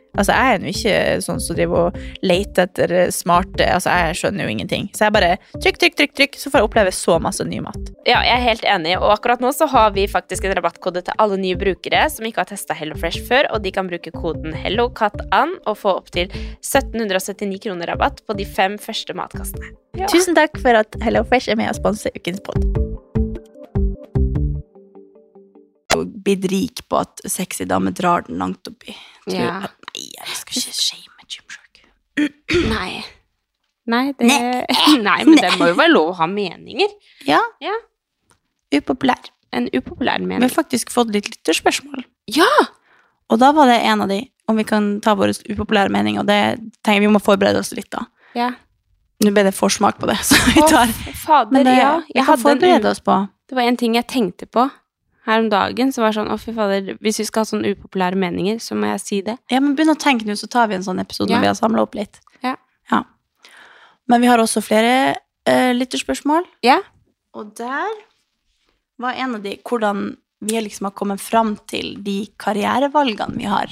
Altså, jeg er jo ikke sånn som driver og leter etter smarte Altså, jeg skjønner jo ingenting. Så jeg bare trykk, trykk, trykk, trykk, så får jeg oppleve så masse ny mat.
Ja, jeg er helt enig, og akkurat nå så har vi faktisk en rabattkode til alle nye brukere som ikke har testa HelloFresh før, og de kan bruke koden HelloCatAn og få opptil 1779 kroner rabatt på de fem første matkastene.
Tusen takk for at HelloFresh er med og sponser ukens pod.
blitt rik på at sexy dame drar den langt opp i tror-
Ja.
Nei, jeg skal ikke shame Gymshark.
Nei. Nei, det... Nei, men det må jo være lov å ha meninger.
Ja.
Ja.
Upopulær.
En upopulær
Vi har
mening.
faktisk fått litt lytterspørsmål.
Ja!
Og da var det en av de, om vi kan ta vår upopulære mening, og det tenker jeg vi må forberede oss litt da.
Ja.
Nå ble det forsmak på det, så vi
Å,
tar.
Fader,
Men det,
ja.
vi kan
en u-
forberede oss på.
Det var en ting jeg tenkte på her om dagen, som var sånn, å fy fader, hvis vi skal ha sånne upopulære meninger, så må jeg si det.
Ja, men begynn å tenke nå, så tar vi en sånn episode
Ja.
når vi har samlet opp litt.
Ja.
Ja. Men vi har også flere eh, lytterspørsmål.
Ja.
Og der var en av de hvordan vi liksom har kommet fram til de karrierevalgene vi har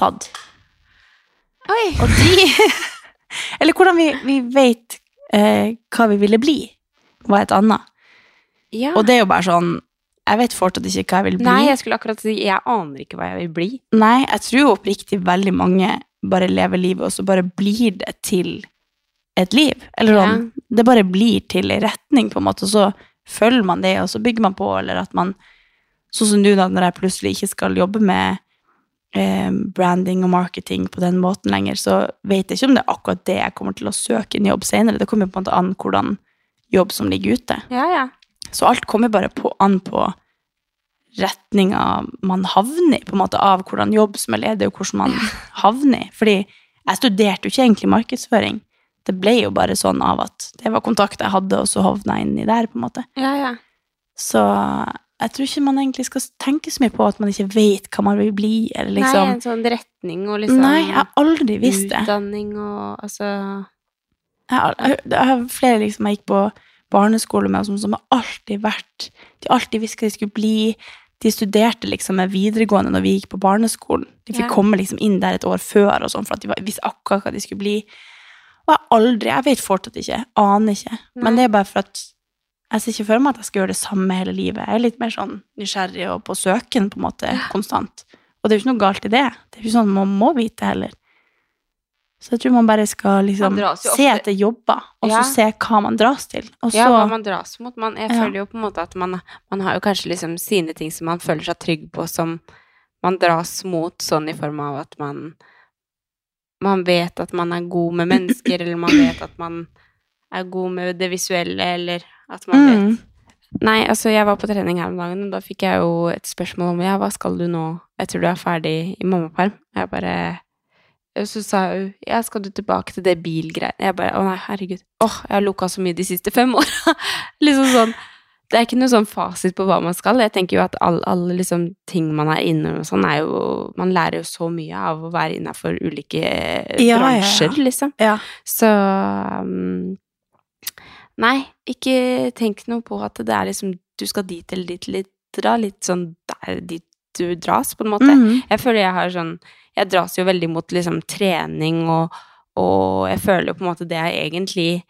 tatt.
Oi!
Og de Eller hvordan vi, vi vet eh, hva vi ville bli, var et annet.
Ja.
Og det er jo bare sånn Jeg vet fortsatt ikke hva jeg vil bli.
Nei, jeg skulle akkurat si, jeg aner ikke hva jeg vil bli.
Nei, jeg tror oppriktig veldig mange bare lever livet, og så bare blir det til et liv. Eller sånn, det bare blir til en retning, på en måte, og så følger man det, og så bygger man på, eller at man Sånn som du, da, når jeg plutselig ikke skal jobbe med eh, branding og marketing på den måten lenger, så vet jeg ikke om det er akkurat det jeg kommer til å søke en jobb senere. Det kommer jo på en måte an hvordan jobb som ligger ute.
Ja, ja.
Så alt kommer bare på, an på retninga man havner i, på en måte, av hvordan jobb som er ledig, og hvordan man havner i. Fordi jeg studerte jo ikke egentlig markedsføring. Det ble jo bare sånn av at det var kontakter jeg hadde, og så havna jeg inni der, på en måte.
Ja, ja.
Så jeg tror ikke man egentlig skal tenke så mye på at man ikke vet hva man vil bli, eller
Nei,
liksom
en sånn retning og liksom
Nei, jeg har aldri visst det.
Utdanning og altså
Jeg har, jeg, det er flere liksom jeg gikk på barneskole med, og sånn, som har alltid vært De alltid visste hva de skulle bli. De studerte liksom med videregående når vi gikk på barneskolen. De fikk
Ja.
komme liksom inn der et år før, og sånn, for at de var, visste akkurat hva de skulle bli. Og jeg har aldri Jeg vet fortsatt ikke. Aner ikke. Men det er bare for at jeg ser ikke for meg at jeg skal gjøre det samme hele livet. Jeg er litt mer sånn nysgjerrig og på søken på en måte, konstant. Og det er jo ikke noe galt i det. Det er jo ikke sånn man må vite heller. Så jeg tror man bare skal liksom
Man dras jo
se
ofte-
etter jobber, og
Ja.
så se hva man dras til. Og så,
Ja, hva man dras mot. Man, jeg
Ja.
føler jo på en måte at man, man har jo kanskje liksom sine ting som man føler seg trygg på, som man dras mot sånn i form av at man man vet at man er god med mennesker, eller man vet at man er god med det visuelle, eller at man vet
mm.
Nei, altså jeg var på trening her om dagen, og da fikk jeg jo et spørsmål om ja, hva skal du nå etter du er ferdig i mammaperm? Jeg bare og Så sa hun ja, skal du tilbake til det bilgreiene? Jeg bare å nei, herregud. Åh, jeg har lukka så mye de siste fem åra. liksom sånn. Det er ikke noe sånn fasit på hva man skal. Jeg tenker jo at alle, alle liksom ting man er innom og sånn, er jo Man lærer jo så mye av å være innafor ulike eh,
Ja, ja, ja.
bransjer, liksom.
Ja.
Så um, Nei, ikke tenk noe på at det er liksom Du skal dit eller dit eller dit. Dra litt sånn der dit du dras, på en måte.
Mhm.
Jeg føler jeg har sånn Jeg dras jo veldig mot liksom trening, og, og jeg føler jo på en måte det er egentlig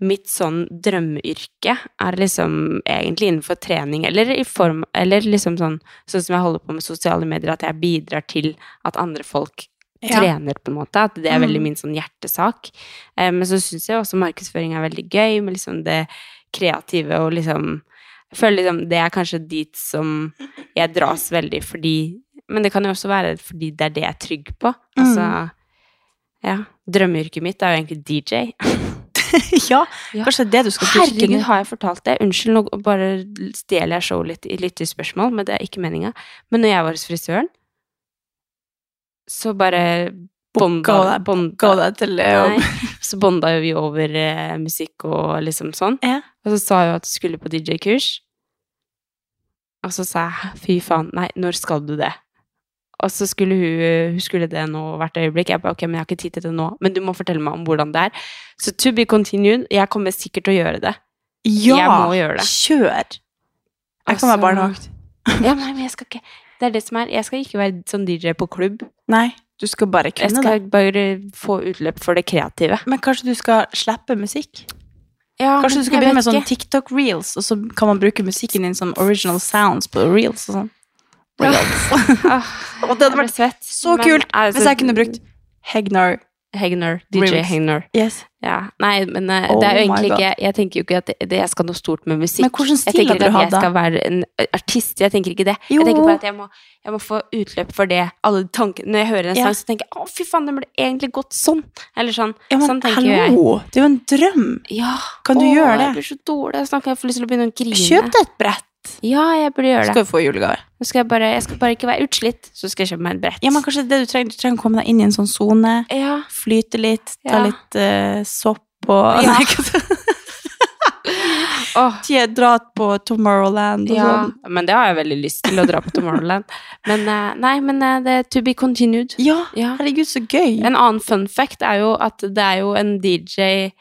Mitt sånn drømmeyrke er liksom egentlig innenfor trening, eller i form Eller liksom sånn Sånn som jeg holder på med sosiale medier, at jeg bidrar til at andre folk
Ja.
trener, på en måte. At det er veldig
Mm.
min sånn hjertesak. Eh, Men så syns jeg også markedsføring er veldig gøy, med liksom det kreative og liksom Jeg føler liksom det er kanskje dit som jeg dras veldig fordi Men det kan jo også være fordi det er det jeg er trygg på. Altså
Mm.
Ja. Drømmeyrket mitt er jo egentlig DJ.
ja,
Ja.
kanskje det er det du skal dyrke
Herregud,
nå.
har jeg fortalt det? Unnskyld, nå bare stjeler jeg showet litt i lyttespørsmål, men det er ikke meninga. Men når jeg var hos frisøren, så bare bonda,
Booka deg-
bonda,
Gå deg til eh,
nei, Så bonda jo vi over eh, musikk og liksom sånn.
Ja.
Og så sa hun at du skulle på DJ-kurs. Og så sa jeg fy faen, nei, når skal du det? Og så skulle hun, hun skulle det nå hvert øyeblikk. Jeg ba, ok, men jeg har ikke tid til det nå. Men du må fortelle meg om hvordan det er. Så to be continued. Jeg kommer sikkert til å gjøre det.
Ja,
Jeg må gjøre det.
kjør! Jeg kan
Altså-
være barnevakt.
Ja, men nei, men jeg skal ikke. Det er det som er. Jeg skal ikke være sånn DJ på klubb.
Nei. Du skal bare kunne
Jeg skal bare få utløp for det kreative.
Men kanskje du skal slippe musikk? kanskje
men
du skal
jeg
begynne med
vet
sånn
ikke.
TikTok-reels, og så kan man bruke musikken din som original sounds på reels og sånn.
Og det hadde vært svett.
Så kult hvis jeg kunne brukt Hegnar.
Hegnar, DJ
Remix.
Hegnar.
Yes.
Ja. Nei, men eh,
Oh
det er
my
jo egentlig
God.
ikke Jeg tenker jo ikke at det, det, jeg skal noe stort med musikk.
Men hvordan stil
jeg
hadde du
tenker ikke at jeg
hatt da?
skal være en artist. Jeg tenker ikke det.
Jo.
Jeg tenker bare at jeg må, jeg må få utløp for det. Alle tankene Når jeg hører en
Ja.
sang, så tenker jeg å, fy faen, det burde egentlig gått sånn. Eller sånn.
Ja, men
sånn tenker jo jeg.
hallo! Det er jo en drøm!
Ja.
Kan du
Åh,
gjøre det?
Jeg blir så dårlig. Jeg snakker, jeg får lyst til å begynne å grine.
Kjøp deg et brett,
Ja, jeg burde
så
gjøre
skal
det.
du få julegave.
Nå skal jeg, bare, jeg skal bare ikke være utslitt, så skal jeg kjøpe meg et brett.
Ja, men kanskje det du trenger, du trenger å komme deg inn i en sånn sone,
ja.
flyte litt, ta
Ja.
litt eh, sopp og
Ja.
Nei, hva-
Åh.
Ti- dra på Tomorrowland og
Ja,
sånn.
men det har jeg veldig lyst til å dra på Tomorrowland. Men eh, nei, men eh, det er to be continued.
Ja,
Ja.
herregud, så gøy!
En annen fun fact er jo at det er jo en DJ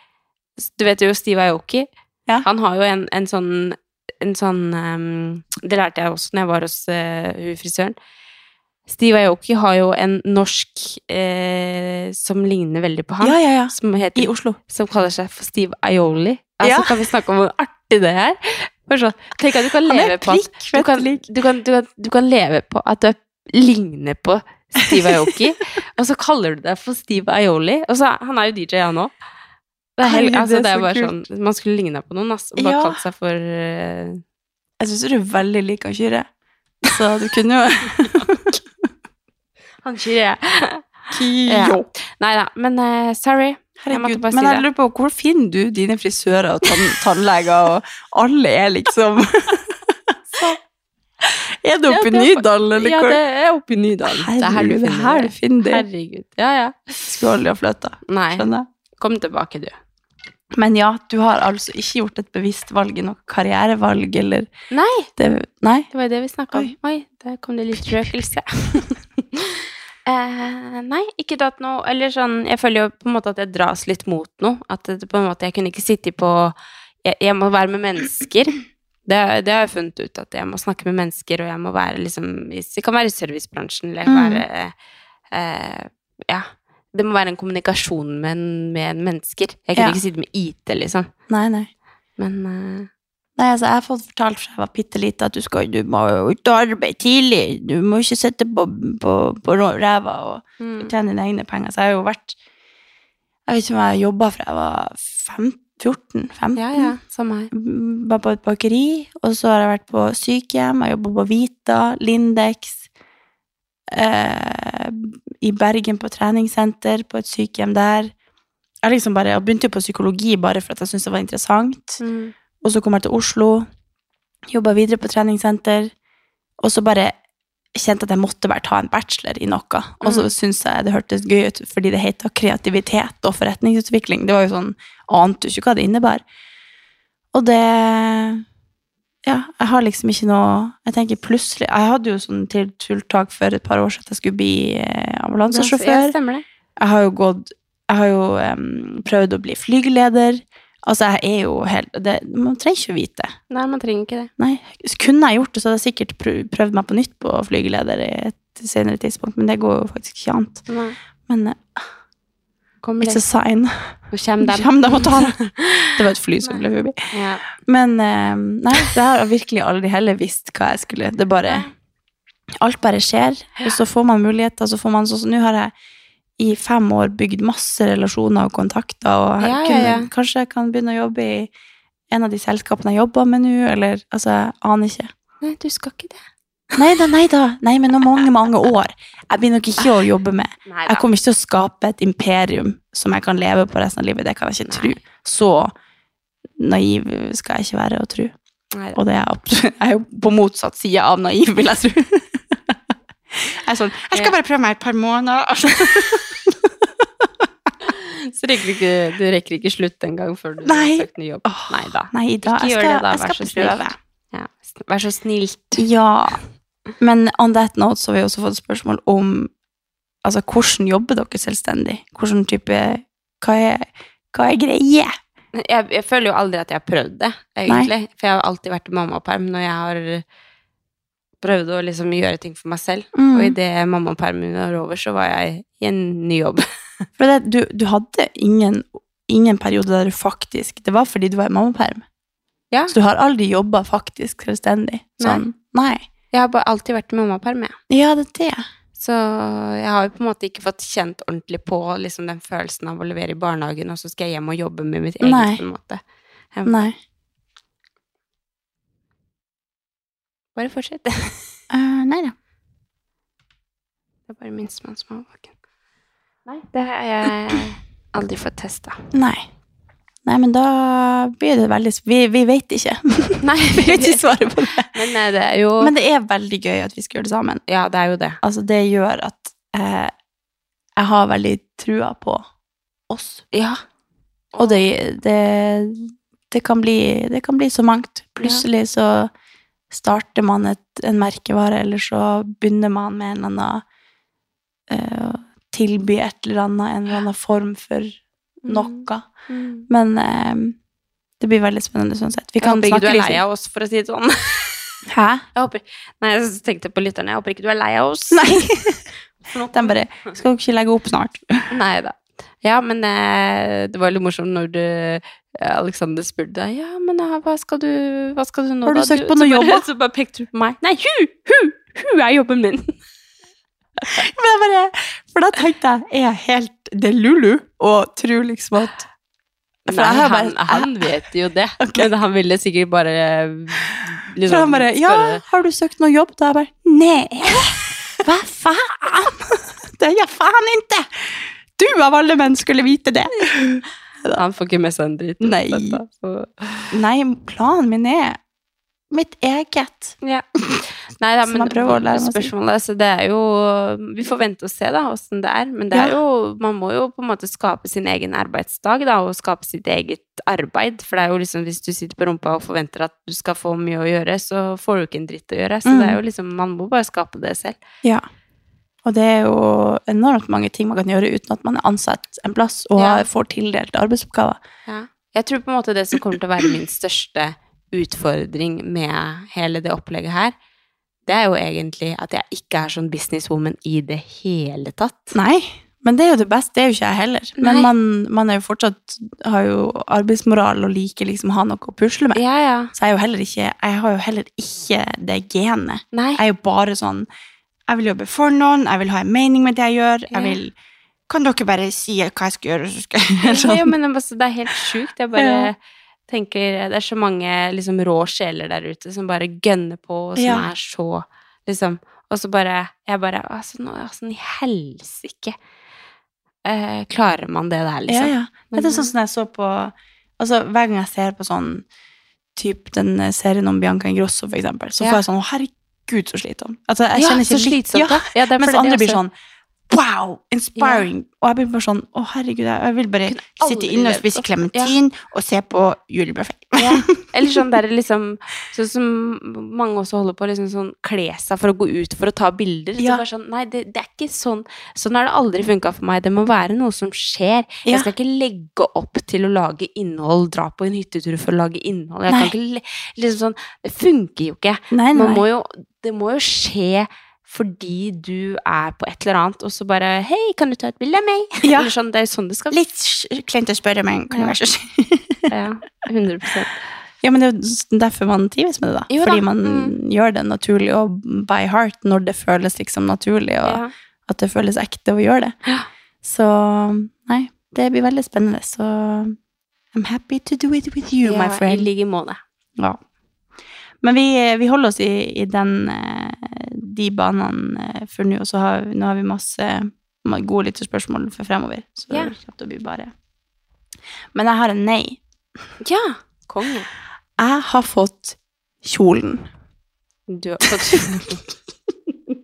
Du vet jo Steve Aoki?
Ja.
Han har jo en, en sånn, en sånn ehm, Det lærte jeg også når jeg var hos eh, hun frisøren. Steve Aoki har jo en norsk eh, som ligner veldig på han.
Ja, ja, ja.
Som, heter,
I Oslo.
som kaller seg for Steve Aioli. Altså,
Ja.
Kan vi snakke om hvor artig det er? Bare sånn, tenk at du kan
Han er
leve på at
prikk
du
fett
kan,
lik.
du, kan, du, kan, du kan leve på at du er- ligner på Steve Aoki, og så kaller du deg for Steve Aioli. Og så, han er jo DJ, han òg. Det er, helt,
Herregud,
altså,
det er
det er
så
bare
kult.
sånn, man skulle ligna på noen, ass, og bare
Ja.
kalt seg for eh,
Jeg syns du er veldig lik han Kyrre. Så du kunne jo
Han Kyrre. Ja.
Kyo.
Nei da, men eh, sorry. Jeg måtte
Herregud.
bare si
Men jeg
det.
lurer på, hvor finner du dine frisører og tann tannleger, og alle er liksom Er det oppe i
Ja, det er-
Nydalen, eller
Ja,
hvor?
det er oppe i Nydalen. Det er her
Herregud,
du
det er
finner
her du
det.
finner det.
Herregud. Ja, ja.
Skulle aldri ha flytta.
Nei,
Skjønner jeg.
kom tilbake, du.
Men ja, du har altså ikke gjort et bevisst valg i noe karrierevalg, eller
Nei,
det, Nei?
det var jo det vi snakka om. Oi, der kom det litt røkelse. Eh, nei, ikke tatt noe Eller sånn, jeg føler jo på en måte at jeg dras litt mot noe. At det, på en måte jeg kunne ikke sitte på Jeg, jeg må være med mennesker. Det, det har jeg funnet ut, at jeg må snakke med mennesker, og jeg må være liksom i- Det kan være i servicebransjen, eller jeg kan
Mm.
være eh, Ja. Det må være en kommunikasjon med, en- med en mennesker. Jeg kunne
Ja.
ikke sitte med IT, liksom.
Nei, nei.
Men eh,
Nei, altså, Jeg har fått fortalt fra jeg var bitte lita at du, skal, du må jo ut og arbeide tidlig. Du må ikke sitte på, på, på ræva og
Mm.
tjene dine egne penger. Så jeg har jo vært Jeg vet ikke om jeg har jobba fra jeg var fem- 14-15.
Ja, ja. Samme her.
Var på et bakeri, og så har jeg vært på sykehjem. Jeg jobba på Vita, Lindex. Eh, I Bergen på treningssenter, på et sykehjem der. Jeg, liksom bare, jeg begynte jo på psykologi bare for at jeg syntes det var interessant.
Mm.
Og så kom jeg til Oslo, jobba videre på treningssenter, og så bare kjente at jeg måtte bare ta en bachelor i noe. Og så syntes jeg det hørtes gøy ut fordi det heter kreativitet og forretningsutvikling. Det var jo sånn, Ante jo ikke hva det innebar. Og det Ja, jeg har liksom ikke noe Jeg tenker plutselig Jeg hadde jo sånn til tiltak for et par år siden at jeg skulle bli eh, ambulansesjåfør.
Ja, stemmer det.
Jeg har jo gått Jeg har jo em, prøvd å bli flygeleder. Altså, jeg er jo helt det, Man trenger ikke å vite.
Nei, man trenger ikke det.
Nei, kunne jeg gjort det, så hadde jeg sikkert prøv- prøvd meg på nytt på flygeleder i et senere tidspunkt, men det går jo faktisk ikke an.
Nei.
Men eh,
Kommer
it's a
det.
sign.
Nå kommer dem.
Kjem dem og tar det. Det var et fly som ble forbi.
Ja.
Men eh, nei, det har jeg virkelig aldri heller visst hva jeg skulle Det bare Alt bare skjer, og så får man muligheter, så får man sånn så Nå har jeg i fem år bygd masse relasjoner og kontakter, og jeg
Ja, ja,
kunne,
ja.
kanskje jeg kan begynne å jobbe i en av de selskapene jeg jobber med nå, eller altså, jeg aner ikke.
Nei, du skal ikke det.
Nei da, nei da. Nei, men om mange, mange år. Jeg blir nok ikke å jobbe med
Nei
Jeg kommer ikke til å skape et imperium som jeg kan leve på resten av livet. Det kan jeg ikke tro. Så naiv skal jeg ikke være og tro. Og det er jeg absolutt, jeg er jo på motsatt side av naiv, vil jeg tro. Jeg er sånn Jeg skal bare prøve meg et par måneder. Altså,
Så rekker du, ikke, du rekker ikke slutt engang før du
Nei.
har søkt ny jobb.
Åh,
Nei da.
Nei da,
Ikke
jeg
gjør
skal,
det da,
jeg
vær
skal
så snill.
prøve.
Ja. Vær så snilt.
Ja. Men on that note så har vi også fått spørsmål om altså, hvordan jobber dere selvstendig? Hvordan type Hva er, hva er greie?
Jeg, jeg føler jo aldri at jeg har prøvd det, egentlig. For jeg har alltid vært i mammaperm når jeg har prøvde å liksom gjøre ting for meg selv.
Mm.
Og idet mammapermen var over, så var jeg i en ny jobb.
For det, du, du hadde ingen, ingen periode der du faktisk Det var fordi du var i mammaperm.
Ja.
Så du har aldri jobba faktisk selvstendig. Sånn. Nei.
Jeg har bare alltid vært i mammaperm, jeg.
Ja, det er det.
Så jeg har jo på en måte ikke fått kjent ordentlig på liksom, den følelsen av å levere i barnehagen, og så skal jeg hjem og jobbe med mitt eget,
Nei.
på en måte.
Nei.
Bare fortsett. det
Eh, nei da.
er bare minstemann som er våken. Nei, det har jeg aldri fått testa.
Nei. Nei, men da blir det veldig s- Vi, vi vet ikke.
Nei,
vi vet ikke svaret på det.
Men eh, det er jo
Men det er veldig gøy at vi skal gjøre det sammen.
Ja, det er jo det.
Altså, det gjør at eh, jeg har veldig trua på oss.
Ja.
Og det, det, det, kan, bli, det kan bli så mangt. Plutselig så starter man et, en merkevare, eller så begynner man med en eller annen eh, å Tilby et eller annet, en eller annen form for noe.
Mm.
Men eh, det blir veldig spennende sånn sett. Vi
Jeg
kan
håper ikke du
snakke
er
litt
lei av oss, for å si det sånn.
Hæ?
Jeg håper, nei, jeg tenkte på lytterne. Jeg håper ikke du er lei av oss.
Den bare Skal dere ikke legge opp snart?
Nei da. Ja, men eh, det var litt morsomt når du, eh, Alexander spurte deg Ja, men eh, hva skal du, hva skal du nå,
Har du
da?
søkt på noe
så bare-
jobb, da?
Så bare pekte du på meg. Nei, hu! Hu! Hu er jobben min!
Men jeg bare, for da tenkte jeg, er jeg helt det er Lulu? Og tror liksom at For
Nei,
jeg har
han,
bare-
han vet jo det. Men han ville sikkert bare eh, liksom,
For han bare Ja,
spørre-
har du søkt noe jobb? Da jeg bare Nei! Hva faen? Det gjør faen ikke! Du av alle menn skulle vite det!
Han får ikke med seg en dritt. om
Nei.
dette, så-
Nei, planen min er mitt eget.
Ja. Nei, da,
Så
men
man prøver å lære masse.
spørsmålet, altså, det er jo Vi får vente og se da, åssen det er. Men det er
Ja.
jo, man må jo på en måte skape sin egen arbeidsdag da, og skape sitt eget arbeid. For det er jo liksom, hvis du sitter på rumpa og forventer at du skal få mye å gjøre, så får du ikke en dritt å gjøre. Så
Mm.
det er jo liksom, man må bare skape det selv.
Ja. Og det er jo enormt mange ting man kan gjøre uten at man er ansatt en plass og
Ja.
får tildelt arbeidsoppgaver.
Ja. Jeg tror på en måte det som kommer til å være min største utfordring med hele det opplegget her, det er jo egentlig at jeg ikke er sånn businesswoman i det hele tatt.
Nei, men det er jo det beste. Det er jo ikke jeg heller. Men
Nei.
man, man er jo fortsatt, har jo arbeidsmoral og liker liksom å ha noe å pusle med.
Ja, ja.
Så jeg, er jo heller ikke, jeg har jo heller ikke det genet.
Nei.
Jeg er jo bare sånn Jeg vil jobbe for noen, jeg vil ha en mening med det jeg gjør. Jeg vil Kan dere bare si hva jeg skal gjøre, så skal jeg gjøre
Ja,
sånn?
men altså, det er helt sjukt. Jeg bare
Ja.
tenker Det er så mange liksom, rå sjeler der ute som bare gønner på, og som
Ja.
er så liksom Og så bare Jeg bare Altså, nå, altså, i helsike eh, Klarer man det der,
Ja,
liksom?
ja. Det er sånn som jeg så på Altså, hver gang jeg ser på sånn typ den eh, serien om Bianca Ingrosso, for eksempel, så
Ja.
får jeg sånn Å, herregud, så slitsom. Altså, jeg
Ja,
kjenner ikke
så slitsomt,
ja.
da. Ja, det er
Mens
fordi det
andre blir
også-
sånn Wow! Inspiring! Og jeg blir bare sånn Å, herregud, jeg jeg vil bare sitte
aldri
inne og
levd
spise
opp.
klementin og se på julebuffé.
Eller sånn der liksom Sånn som mange også holder på liksom sånn kle seg for å gå ut for å ta bilder.
Ja.
Så bare sånn, nei, det, det er ikke sånn Sånn har det aldri funka for meg. Det må være noe som skjer.
Ja.
Jeg skal ikke legge opp til å lage innhold, dra på en hyttetur for å lage innhold. Jeg
Nei.
kan ikke le- liksom sånn, Det funker jo ikke.
Nei, nei,
Man må
nei.
jo, det må jo skje fordi du er på et eller annet, og så bare 'Hei, kan du ta et bilde av meg?'
Ja.
Eller sånn, Det er jo sånn det skal
Litt sj- kleint å spørre, men kan det være så sj-
Ja, 100
Ja, men det er jo s- derfor man trives med det, da.
Jo da, Mm.
Fordi man gjør det naturlig og by heart når det føles liksom naturlig, og
Ja.
at det føles ekte å gjøre det. Så nei, det blir veldig spennende. Så I'm happy to do it with you,
Ja,
my
I
friend.
like måte.
Ja. Men vi, vi holder oss i, i den, eh, de banene eh, for nå, og så har, vi- nå har vi masse ma- gode lytterspørsmål for fremover. Så
Ja.
det kommer til å bli bare Men jeg har en nei.
Ja, konge.
Jeg har fått kjolen.
Du har fått kjolen.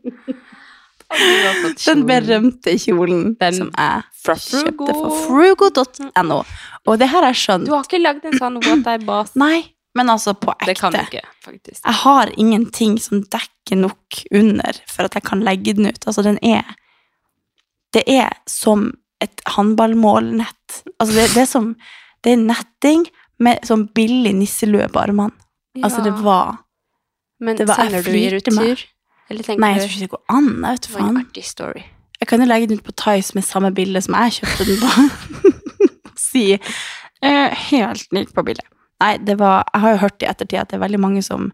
Og du har fått
Den
kjolen.
berømte kjolen som jeg kjøpte for frugo.no. Og det her har jeg skjønt.
Du har ikke lagd en sånn what I bas.
Nei, men altså på ekte.
Det kan du ikke, faktisk.
Jeg har ingenting som dekker nok under for at jeg kan legge den ut. Altså, den er Det er som et håndballmålnett. Altså, det, det er som Det er netting med sånn billig nisselue på armene. Altså,
Ja.
det var
Men
Det var- jeg
sender du i
flirte meg.
retur? Eller tenker
Nei, jeg
du-
tror ikke det går an. Jeg vet
Det var en
faen.
artig story.
Jeg kan jo legge den ut på Tice med samme bilde som jeg kjøpte den på. si eh, helt nytt på bildet. Nei, det var, jeg har jo hørt i ettertid at det er veldig mange som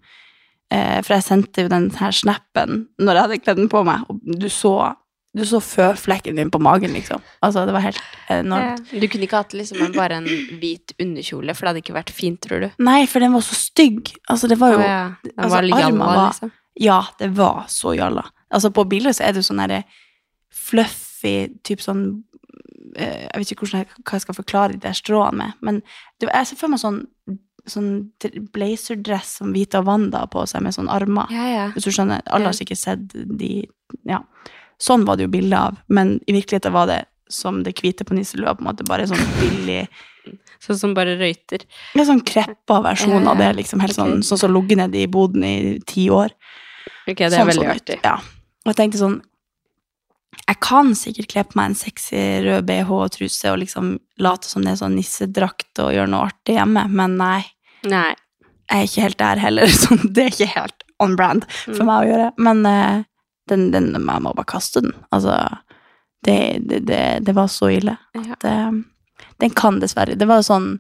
eh, For jeg sendte jo den her snappen når jeg hadde kledd den på meg, og du så, du så føflekken din på magen, liksom. Altså, det var helt enormt.
Du kunne ikke hatt liksom en, bare en hvit underkjole, for det hadde ikke vært fint, tror du.
Nei, for den var så stygg. Altså, det var jo
Å ja, den
altså,
var litt
armen
jalla,
var-
liksom.
Ja, det var så jalla. Altså, på bildet så er det jo sånn derre fluffy, typ sånn eh, Jeg vet ikke hvordan jeg, hva jeg skal forklare de der stråene med, men det, jeg ser for meg sånn, sånn dr- blazerdress som Vita Wanda har på seg, med sånne armer.
Ja, ja.
Hvis du skjønner, alle har sikkert sett de Ja. Sånn var det jo bilde av, men i virkeligheten var det som det hvite på nisselua, på en måte, bare sånn billig
Sånn som bare røyter.
en sånn kreppa versjon av
Ja, ja.
det, liksom. Helt
Ok.
sånn, sånn som ligger nede i boden i ti år.
Ok, det er
Sånn
veldig
så det ut. Ja. Og jeg tenkte sånn Jeg kan sikkert kle på meg en sexy rød BH og truse og liksom late som det er sånn nissedrakt og gjøre noe artig hjemme, men nei.
Nei.
Jeg er ikke helt der heller. Sånn, det er ikke helt on brand for
Mm.
meg å gjøre. Men eh, den, den, jeg må bare kaste den. Altså, det, det, det, det var så ille at eh, den kan dessverre. Det var jo sånn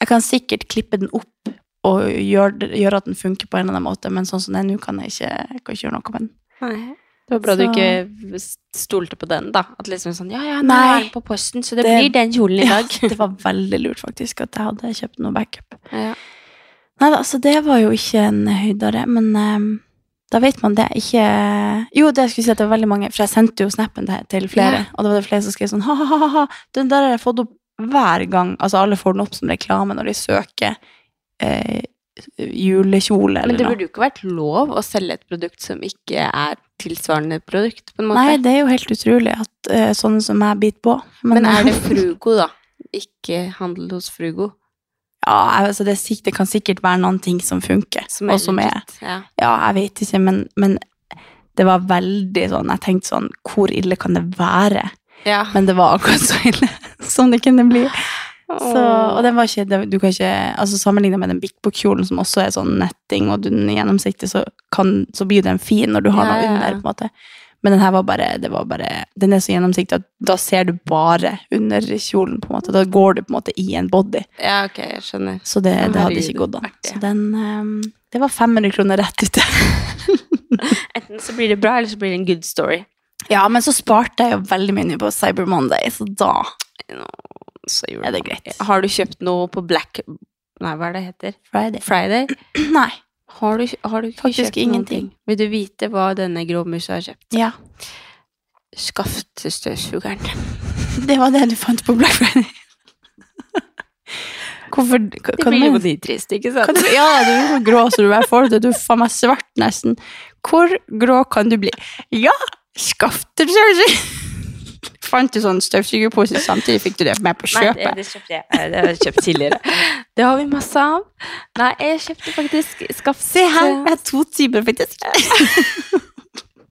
Jeg kan sikkert klippe den opp og gjøre gjøre at den funker på en eller annen måte, men sånn som den nå kan jeg ikke, jeg kan ikke gjøre noe med den.
Nei. Det var bra du
Så-
ikke stolte på den, da. At liksom sånn, ja, ja, nå
Nei.
er den på posten, så det, blir den kjolen i dag.
Ja, det var veldig lurt faktisk at jeg hadde kjøpt noe backup.
Ja.
Nei da, så det var jo ikke en høydare, men eh, da vet man det. Ikke Jo, det jeg skulle si at det var veldig mange, for jeg sendte jo snappen til- til flere,
Ja.
og da var det flere som skrev sånn ha-ha-ha, den der har jeg fått opp hver gang. Altså alle får den opp som reklame når de søker eh, julekjole
Men
eller
det
noe.
burde jo ikke vært lov å selge et produkt som ikke er tilsvarende produkt, på en måte.
Nei, det er jo helt utrolig at eh, sånne som meg biter på. eh,
Men er det Frugo, da? Ikke handel hos Frugo.
Ja, altså det, er sikk- det kan sikkert være noen ting som funker.
Som er
og som er
legit, ja.
jeg vet ikke, men, men det var veldig sånn Jeg tenkte sånn Hvor ille kan det være?
Ja.
Men det var akkurat så ille som det kunne bli. Så,
Åh.
og den var ikke, det- du kan ikke altså Sammenlignet med den Big Book-kjolen, som også er sånn netting, og den er gjennomsiktig, så, kan, så blir den fin når du har
Ja,
noe
ja, ja.
under. på en måte Men den her var bare, det var bare Den er så gjennomsiktig at da ser du bare under kjolen, på en måte. Da går du på en måte i en body.
Ja, ok, jeg skjønner.
Så det, det hadde ikke
Herregud,
gått an.
artig.
Så den, eh, det var 500 kroner rett ute.
Enten så blir det bra, eller så blir det en good story.
Ja, men så sparte jeg jo veldig mye på Cyber Monday, så da
Så gjorde
er det greit.
Har du kjøpt noe på Black Nei, hva er det heter?
Friday.
Friday?
Nei.
Har du, har du ikke
Faktisk
kjøpt noen
ingenting.
ting? Vil du vite hva denne gråmusa har kjøpt?
Ja.
Skaff til støvsugeren.
Det var det du fant på Black Friday. Hvorfor
Det blir jo nitrist, ikke sant?
Kan du, ja, du er så grå så du bare får det. Du er faen meg svart nesten. Hvor grå kan du bli? Ja, skaff deg støvsuger! Fant du sånn støvsugerpose samtidig? Fikk du det med på
Nei, det,
kjøpet?
det kjøpte jeg. Eh, Det har jeg kjøpt tidligere. Det har vi masse av. Nei, jeg kjøpte faktisk skaff
Se her, jeg har to timer, faktisk.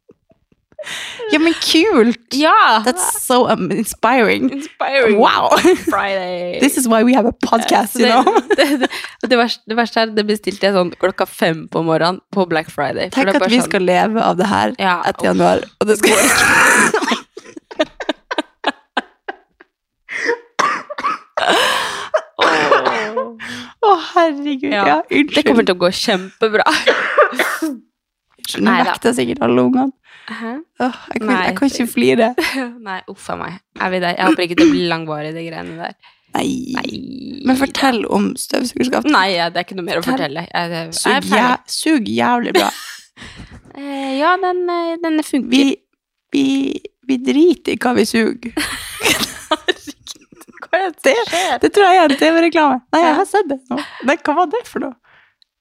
ja, men kult!
Ja!
That's so um, inspiring.
Inspiring.
Wow.
Friday.
This is why we have a podcast,
Så
you know.
det, det, det, og det, verste, det verste er det bestilte jeg sånn klokka fem på morgenen på Black Friday. For
Tenk
det er
at
bare
vi
sånn-
skal leve av det her
Ja,
etter januar, og det skal Å, herregud.
Ja.
Ja,
Det kommer
unnskyld.
til å gå kjempebra.
Nå
Neida.
vekter jeg sikkert alle ungene.
Hæ?
Åh, jeg, kan-
Nei.
jeg kan ikke flire.
Nei, uff a meg. Er vi der? Jeg håper ikke det blir langvarig, de greiene der.
Nei.
Nei.
Men fortell om støvsugerskap.
Nei, ja, det er ikke noe mer å fortelle. Jeg, jeg, jeg
Sug,
er
jæv
ferdig.
sug jævlig bra.
Eh, Ja, den, eh, denne funker.
Vi, vi, vi driter i hva vi suger. Hva er det? Det tror jeg er en TV-reklame. Nei, jeg har sett det nå. Nei, hva var det for noe?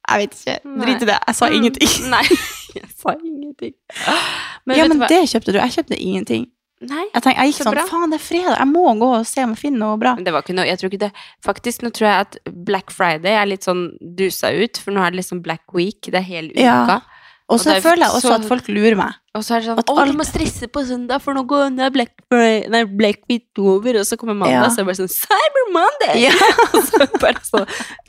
Jeg vet ikke. Drit i det. Jeg sa ingenting.
Nei, Mm. jeg sa ingenting. Men
ja,
vet du
men
hva?
det kjøpte du. Jeg kjøpte ingenting.
Nei.
Jeg, tenkte, jeg gikk
Så
sånn,
bra.
faen, det er fredag. Jeg må gå og se om jeg finner noe bra.
Men det var ikke noe, jeg tror ikke det. Faktisk, nå tror jeg at Black Friday er litt sånn dusa ut, for nå er det liksom Black Week, det er hele uka.
Ja. Og så
det er
føler jeg også
sånn-
at folk lurer meg.
Og så er det sånn
At
Å,
alt-
du må stresse på søndag, for nå går nå er Black, Friday- nei, Black Week over. Og så kommer mandag,
Ja.
så er det bare sånn Cyber Monday!
Ja.
og så er det bare så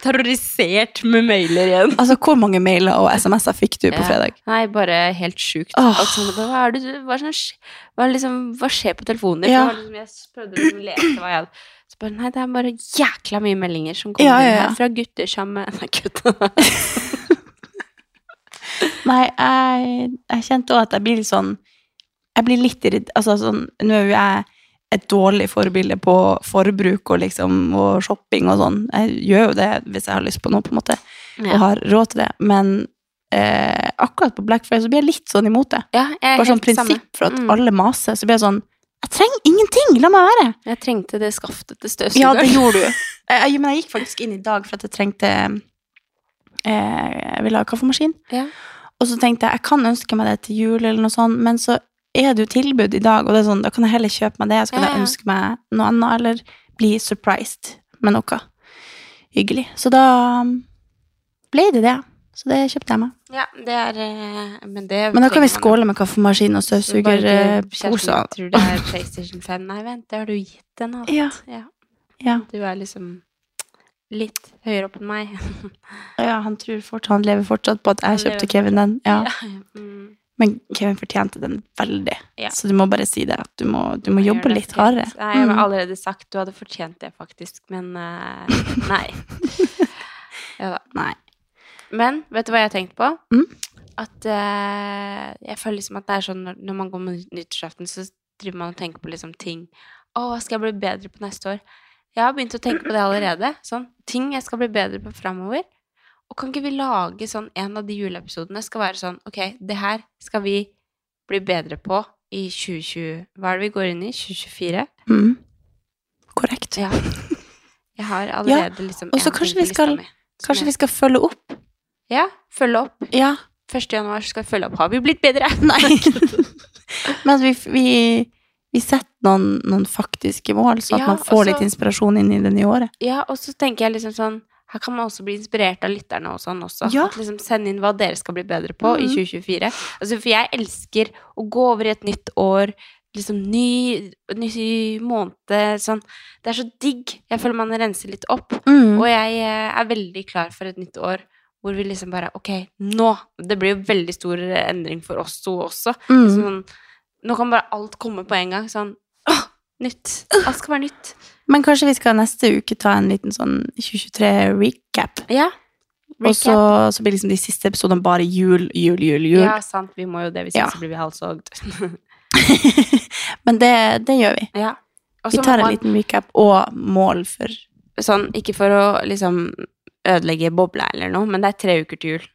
terrorisert med mailer igjen.
Altså, hvor mange mailer og SMS-er fikk du på
Ja.
fredag?
Nei, bare helt sjukt.
Åh.
Alt sånn, bare, hva, er det, du- hva, er det som skj- hva, er det liksom, hva skjer på telefonen din? For
Ja.
det var Liksom, jeg prøvde liksom å lese hva jeg hadde. Så bare, nei, det er bare jækla mye meldinger som kommer
Ja, ja,
inn
ja.
her fra gutter sammen Nei, gutta.
Nei, jeg, jeg kjente også at jeg blir litt sånn Jeg blir litt irrit- Altså sånn Nå er jo jeg et dårlig forbilde på forbruk og liksom og shopping og sånn. Jeg gjør jo det hvis jeg har lyst på noe, på en måte, og har råd til det. Men eh, akkurat på Black Friday så blir jeg litt sånn imot det.
Ja, jeg er
Bare sånn
helt samme.
prinsipp for at
Mm.
alle maser. Så blir jeg sånn Jeg trenger ingenting! La meg være!
Jeg trengte det skaftet til støvsugeren.
Ja, det gjorde du. Jeg, jeg, men jeg gikk faktisk inn i dag for at jeg trengte eh, Jeg ville ha kaffemaskin.
Ja.
Og så tenkte jeg jeg kan ønske meg det til jul, eller noe sånt, men så er det jo tilbud i dag, og det er sånn, da kan jeg heller kjøpe meg det. Så kan
Ja, ja.
jeg ønske meg noe annet, eller bli surprised med noe hyggelig. Så da um, ble det det. Så det kjøpte jeg meg.
Ja, det er eh, Men, det
Men da kan vi
trenger man
skåle med kaffemaskin og eh,
jo. Bare du,
støvsugerposer.
Kjersten, Tror det er PlayStation 5. Nei, vent, det har du gitt den. alt.
Ja. Ja.
Du er liksom litt høyere opp enn meg.
Ja, han tror fortsatt, han lever fortsatt på at jeg
Han
kjøpte
lever-
Kevin den. Ja.
Mm.
Men Kevin fortjente den veldig.
Ja.
Så du må bare si det. at Du må, du må
Jeg gjør
jobbe
det
litt
fint.
hardere.
Nei, Jeg har
Mm.
allerede sagt du hadde fortjent det, faktisk, men eh, nei. Ja da.
Nei.
Men vet du hva jeg har tenkt på?
Mm.
At eh, jeg føler liksom at det er sånn når, når man går mot nyttårsaften, så driver man og tenker på liksom ting. Å, hva skal jeg bli bedre på neste år? Jeg har begynt å tenke på det allerede. Sånn, ting jeg skal bli bedre på framover. Og kan ikke vi lage sånn en av de juleepisodene skal være sånn Ok, det her skal vi bli bedre på i 2020 Hva er det vi går inn i? 2024?
Mm. Korrekt.
Ja. Jeg har allerede liksom
Og så
en ting
kanskje
på
vi
lista
skal,
mi som
kanskje
jeg-
vi skal følge opp.
Ja, følge opp.
Ja.
1. januar så skal vi følge opp. Har vi blitt bedre?
Nei. Men at vi, vi, vi setter noen, noen faktiske mål, så at
Ja, altså-
man får
og så-
litt inspirasjon inn i det nye året.
Ja, og så tenker jeg liksom sånn her kan man også bli inspirert av lytterne og sånn også.
Ja.
At liksom Send inn hva dere skal bli bedre på i
Mhm.
2024. Altså, for jeg elsker å gå over i et nytt år, liksom ny, ny måned, sånn. Det er så digg. Jeg føler man renser litt opp.
Mm.
Og jeg eh, er veldig klar for et nytt år hvor vi liksom bare Ok, nå! Det blir jo veldig stor endring for oss to også.
Mm.
Sånn, nå kan bare alt komme på en gang. Sånn åh, nytt! Alt skal være nytt.
Men kanskje vi skal neste uke ta en liten sånn 2023-recap.
Ja.
Og så, så blir liksom de siste episodene bare jul, jul, jul, jul.
Ja, sant. Vi må jo det, hvis ikke
Ja.
så blir vi halshogd.
Men det, det gjør vi.
ja. Og så
Vi
må
tar en
man-
liten recap og mål for
Sånn, ikke for å liksom ødelegge bobla eller noe, men det er tre uker til jul.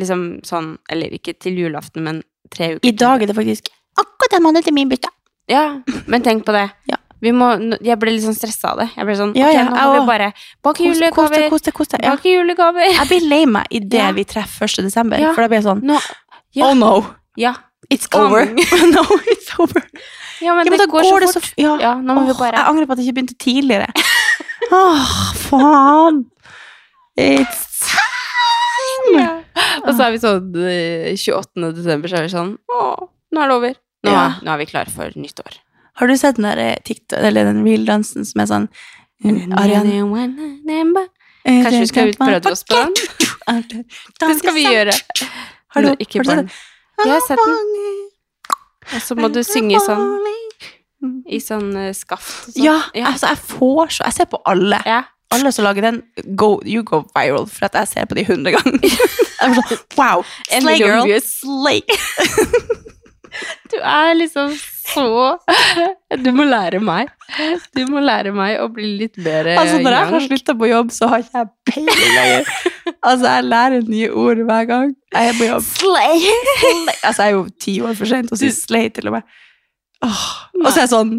Liksom sånn, eller ikke til julaften, men tre uker.
I dag er det faktisk akkurat en måned til min bursdag.
Ja, men tenk på det.
Ja.
Vi må, nå- jeg ble litt sånn stressa av det. Jeg ble sånn,
Ja,
ok,
ja, jeg
nå må
også.
vi bare bake
Kos deg, kos deg,
julegaver,
kos deg, kos deg. Ja.
bake julegaver.
Jeg blir lei meg idet
Ja.
vi treffer 1. desember,
Ja.
for da blir jeg sånn
Nå, ja,
Oh no,
ja.
it's
Kan.
over. no, it's over.
Ja, men,
Ja, men da
det går, så fort.
f- ja.
Ja, nå må vi
Åh,
bare
Jeg angrer på at jeg ikke begynte tidligere. Åh, faen. It's time.
Ja. Og så er vi sånn eh, 28. desember, så er vi sånn Å, nå er det over. Nå,
Ja.
er- nå er vi klare for nytt år.
Har du sett den der eh, TikTok, eller den reel-dansen som er sånn eh, Ariane
Mm, eh, Kanskje vi skal utprøve oss på den? Det skal vi gjøre.
Har du,
Nå, ikke
har du sett
barn. Jeg har sett den. Og så må du synge sånn i sånn eh, skaft. og sånn.
Ja, altså jeg får så Jeg ser på alle.
Ja.
Alle som lager den, go, you go viral, for at jeg ser på de hundre ganger. Jeg blir sånn, wow,
En
slay girl,
million
Eh,
views.
slay.
Du er liksom så Du må lære meg. Du må lære meg å bli litt mer eh,
Altså, når jeg har
young.
slutta på jobb, så har ikke jeg peiling lenger. Altså, jeg lærer nye ord hver gang jeg er på jobb.
Slay.
Slay. Altså, jeg er jo ti år for sent og sier slay til og med. Åh. Og så er jeg sånn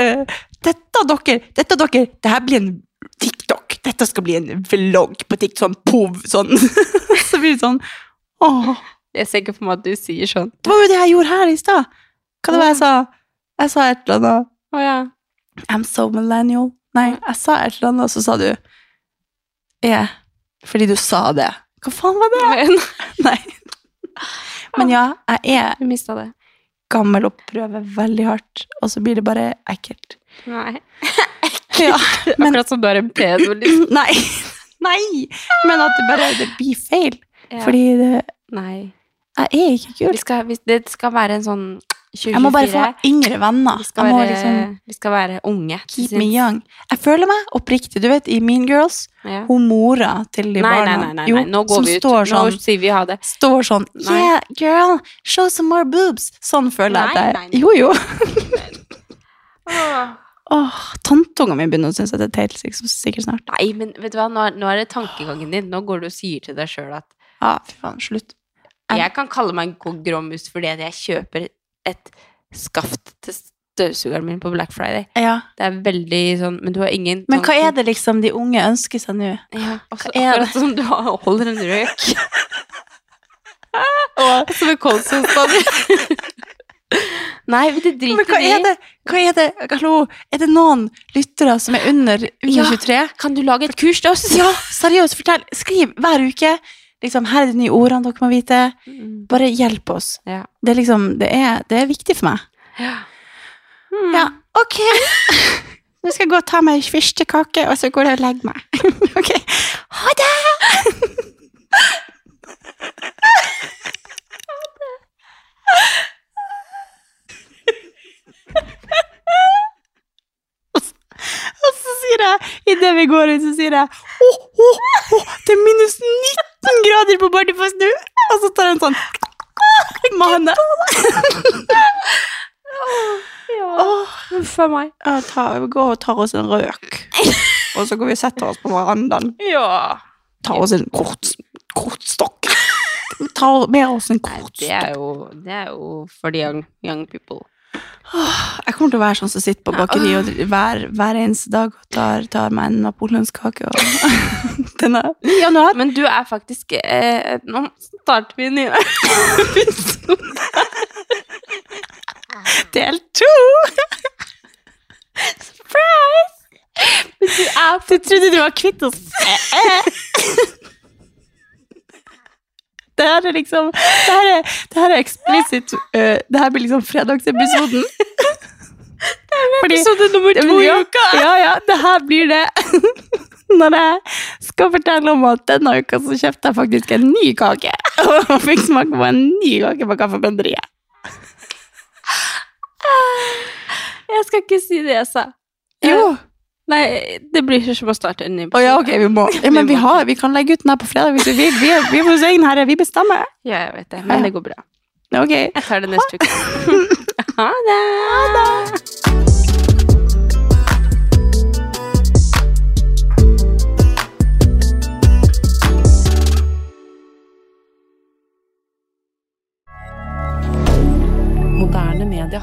eh, Dette dere, dette dere, det her blir en TikTok. Dette skal bli en vlogg på TikTok, sånn pov, sånn. så blir det sånn Åh.
Jeg ser ikke for meg at du sier sånn.
Det var jo det jeg gjorde her i stad. Hva det var jeg sa? Jeg sa et eller annet.
Å ja.
I'm so millennial. Nei, jeg sa et eller annet, og så sa du Yeah. Fordi du sa det. Hva faen var det?
Men,
Nei. Men ja, jeg er
Du mista det.
gammel og prøver veldig hardt, og så blir det bare ekkelt.
Nei.
Ja, men-
Akkurat som du har en pedo. liksom.
Nei! Nei! Men at det bare det blir feil.
Ja.
Fordi det,
Nei.
jeg er ikke kul.
Vi skal, vi, det skal være en sånn 2024.
Jeg må bare få yngre venner.
Vi skal,
Jeg må
være,
liksom
vi skal være unge.
keep me young. Jeg føler meg oppriktig. Du vet, i Mean Girls,
Ja.
hun mora til de
Nei, nei,
barna
nei, nei,
jo,
nei. Nå går
som
vi ut.
står sånn,
Nå sier vi ha det.
står sånn
Nei.
Yeah, girl, show some more boobs. Sånn føler jeg
Nei,
at
nei,
jeg Jo, jo. Ah. Åh, Tanteunga mi begynner å synes at det er teit liksom, sikkert snart.
Nei, men vet du hva, nå, er- nå er det tankegangen din. Nå går du og sier til deg sjøl at
Ja, fy faen, slutt.
jeg kan kalle meg en god grommus fordi at jeg kjøper et skaft til støvsugeren min på Black Friday.
Ja.
Det er veldig sånn Men du har ingen
Men hva er det liksom de unge ønsker seg nå?
Ja,
er
også,
det?
akkurat som du har- holder en røyk. Og som en kolsonstander. Nei, men det driter
Men hva
vi i.
er det? Hva er det? Hallo, er det noen lyttere som er under, under
Ja.
23?
Kan du lage et kurs til oss?
Ja, seriøst, fortell. Skriv hver uke. Liksom, her er de nye ordene dere må vite. Bare hjelp oss.
Mm, Ja.
Det er liksom, det er, det er viktig for meg. Ja, ok. Mm. Nå skal jeg gå og ta meg en fyrstekake, og så går jeg og legger meg. Ok, ha det! Og så sier jeg, idet vi går ut, så sier jeg Å, å, å, det er minus 19 grader på Bardufoss nå! Og så tar jeg en sånn med henne. Åh,
Huff a meg.
ja, ta, vi går og tar oss en røk. Og så går vi og setter oss på verandaen.
Ja.
Tar oss en kort, kortstokk. Tar med oss en
Det
kortstokk.
er jo, det er jo for de young, young people.
Jeg kommer til å være sånn som sitter på bakeri
Ah.
og dri- hver, hver eneste dag og tar, tar meg en napoleonskake. Og den er i januar.
Men du er faktisk eh, Nå starter vi en ny episode.
Del to! Surprise! Du trodde du var kvitt oss.
Eh,
Det her er liksom Det her er, det her er eksplisitt eh, Det her blir liksom fredagsepisoden. Fordi-
Episode nummer
Ja,
to
men
i
ja,
uka.
Ja, ja, det her blir det. Når jeg skal fortelle om at denne uka så kjøpte jeg faktisk en ny kake. Og fikk smake på en ny kake på Kaffebønderiet.
Jeg skal ikke si det jeg sa.
Jo.
Nei, det blir ikke som å starte en ny
Å ja, ok, vi må. Ja, men vi, har, vi kan legge ut den her på fredag hvis vi vil. Vi er, vi er hos egen herre, vi bestemmer.
Ja, jeg vet det, men det går bra.
Ok.
Jeg tar det neste uke. Ha det!
Moderne media.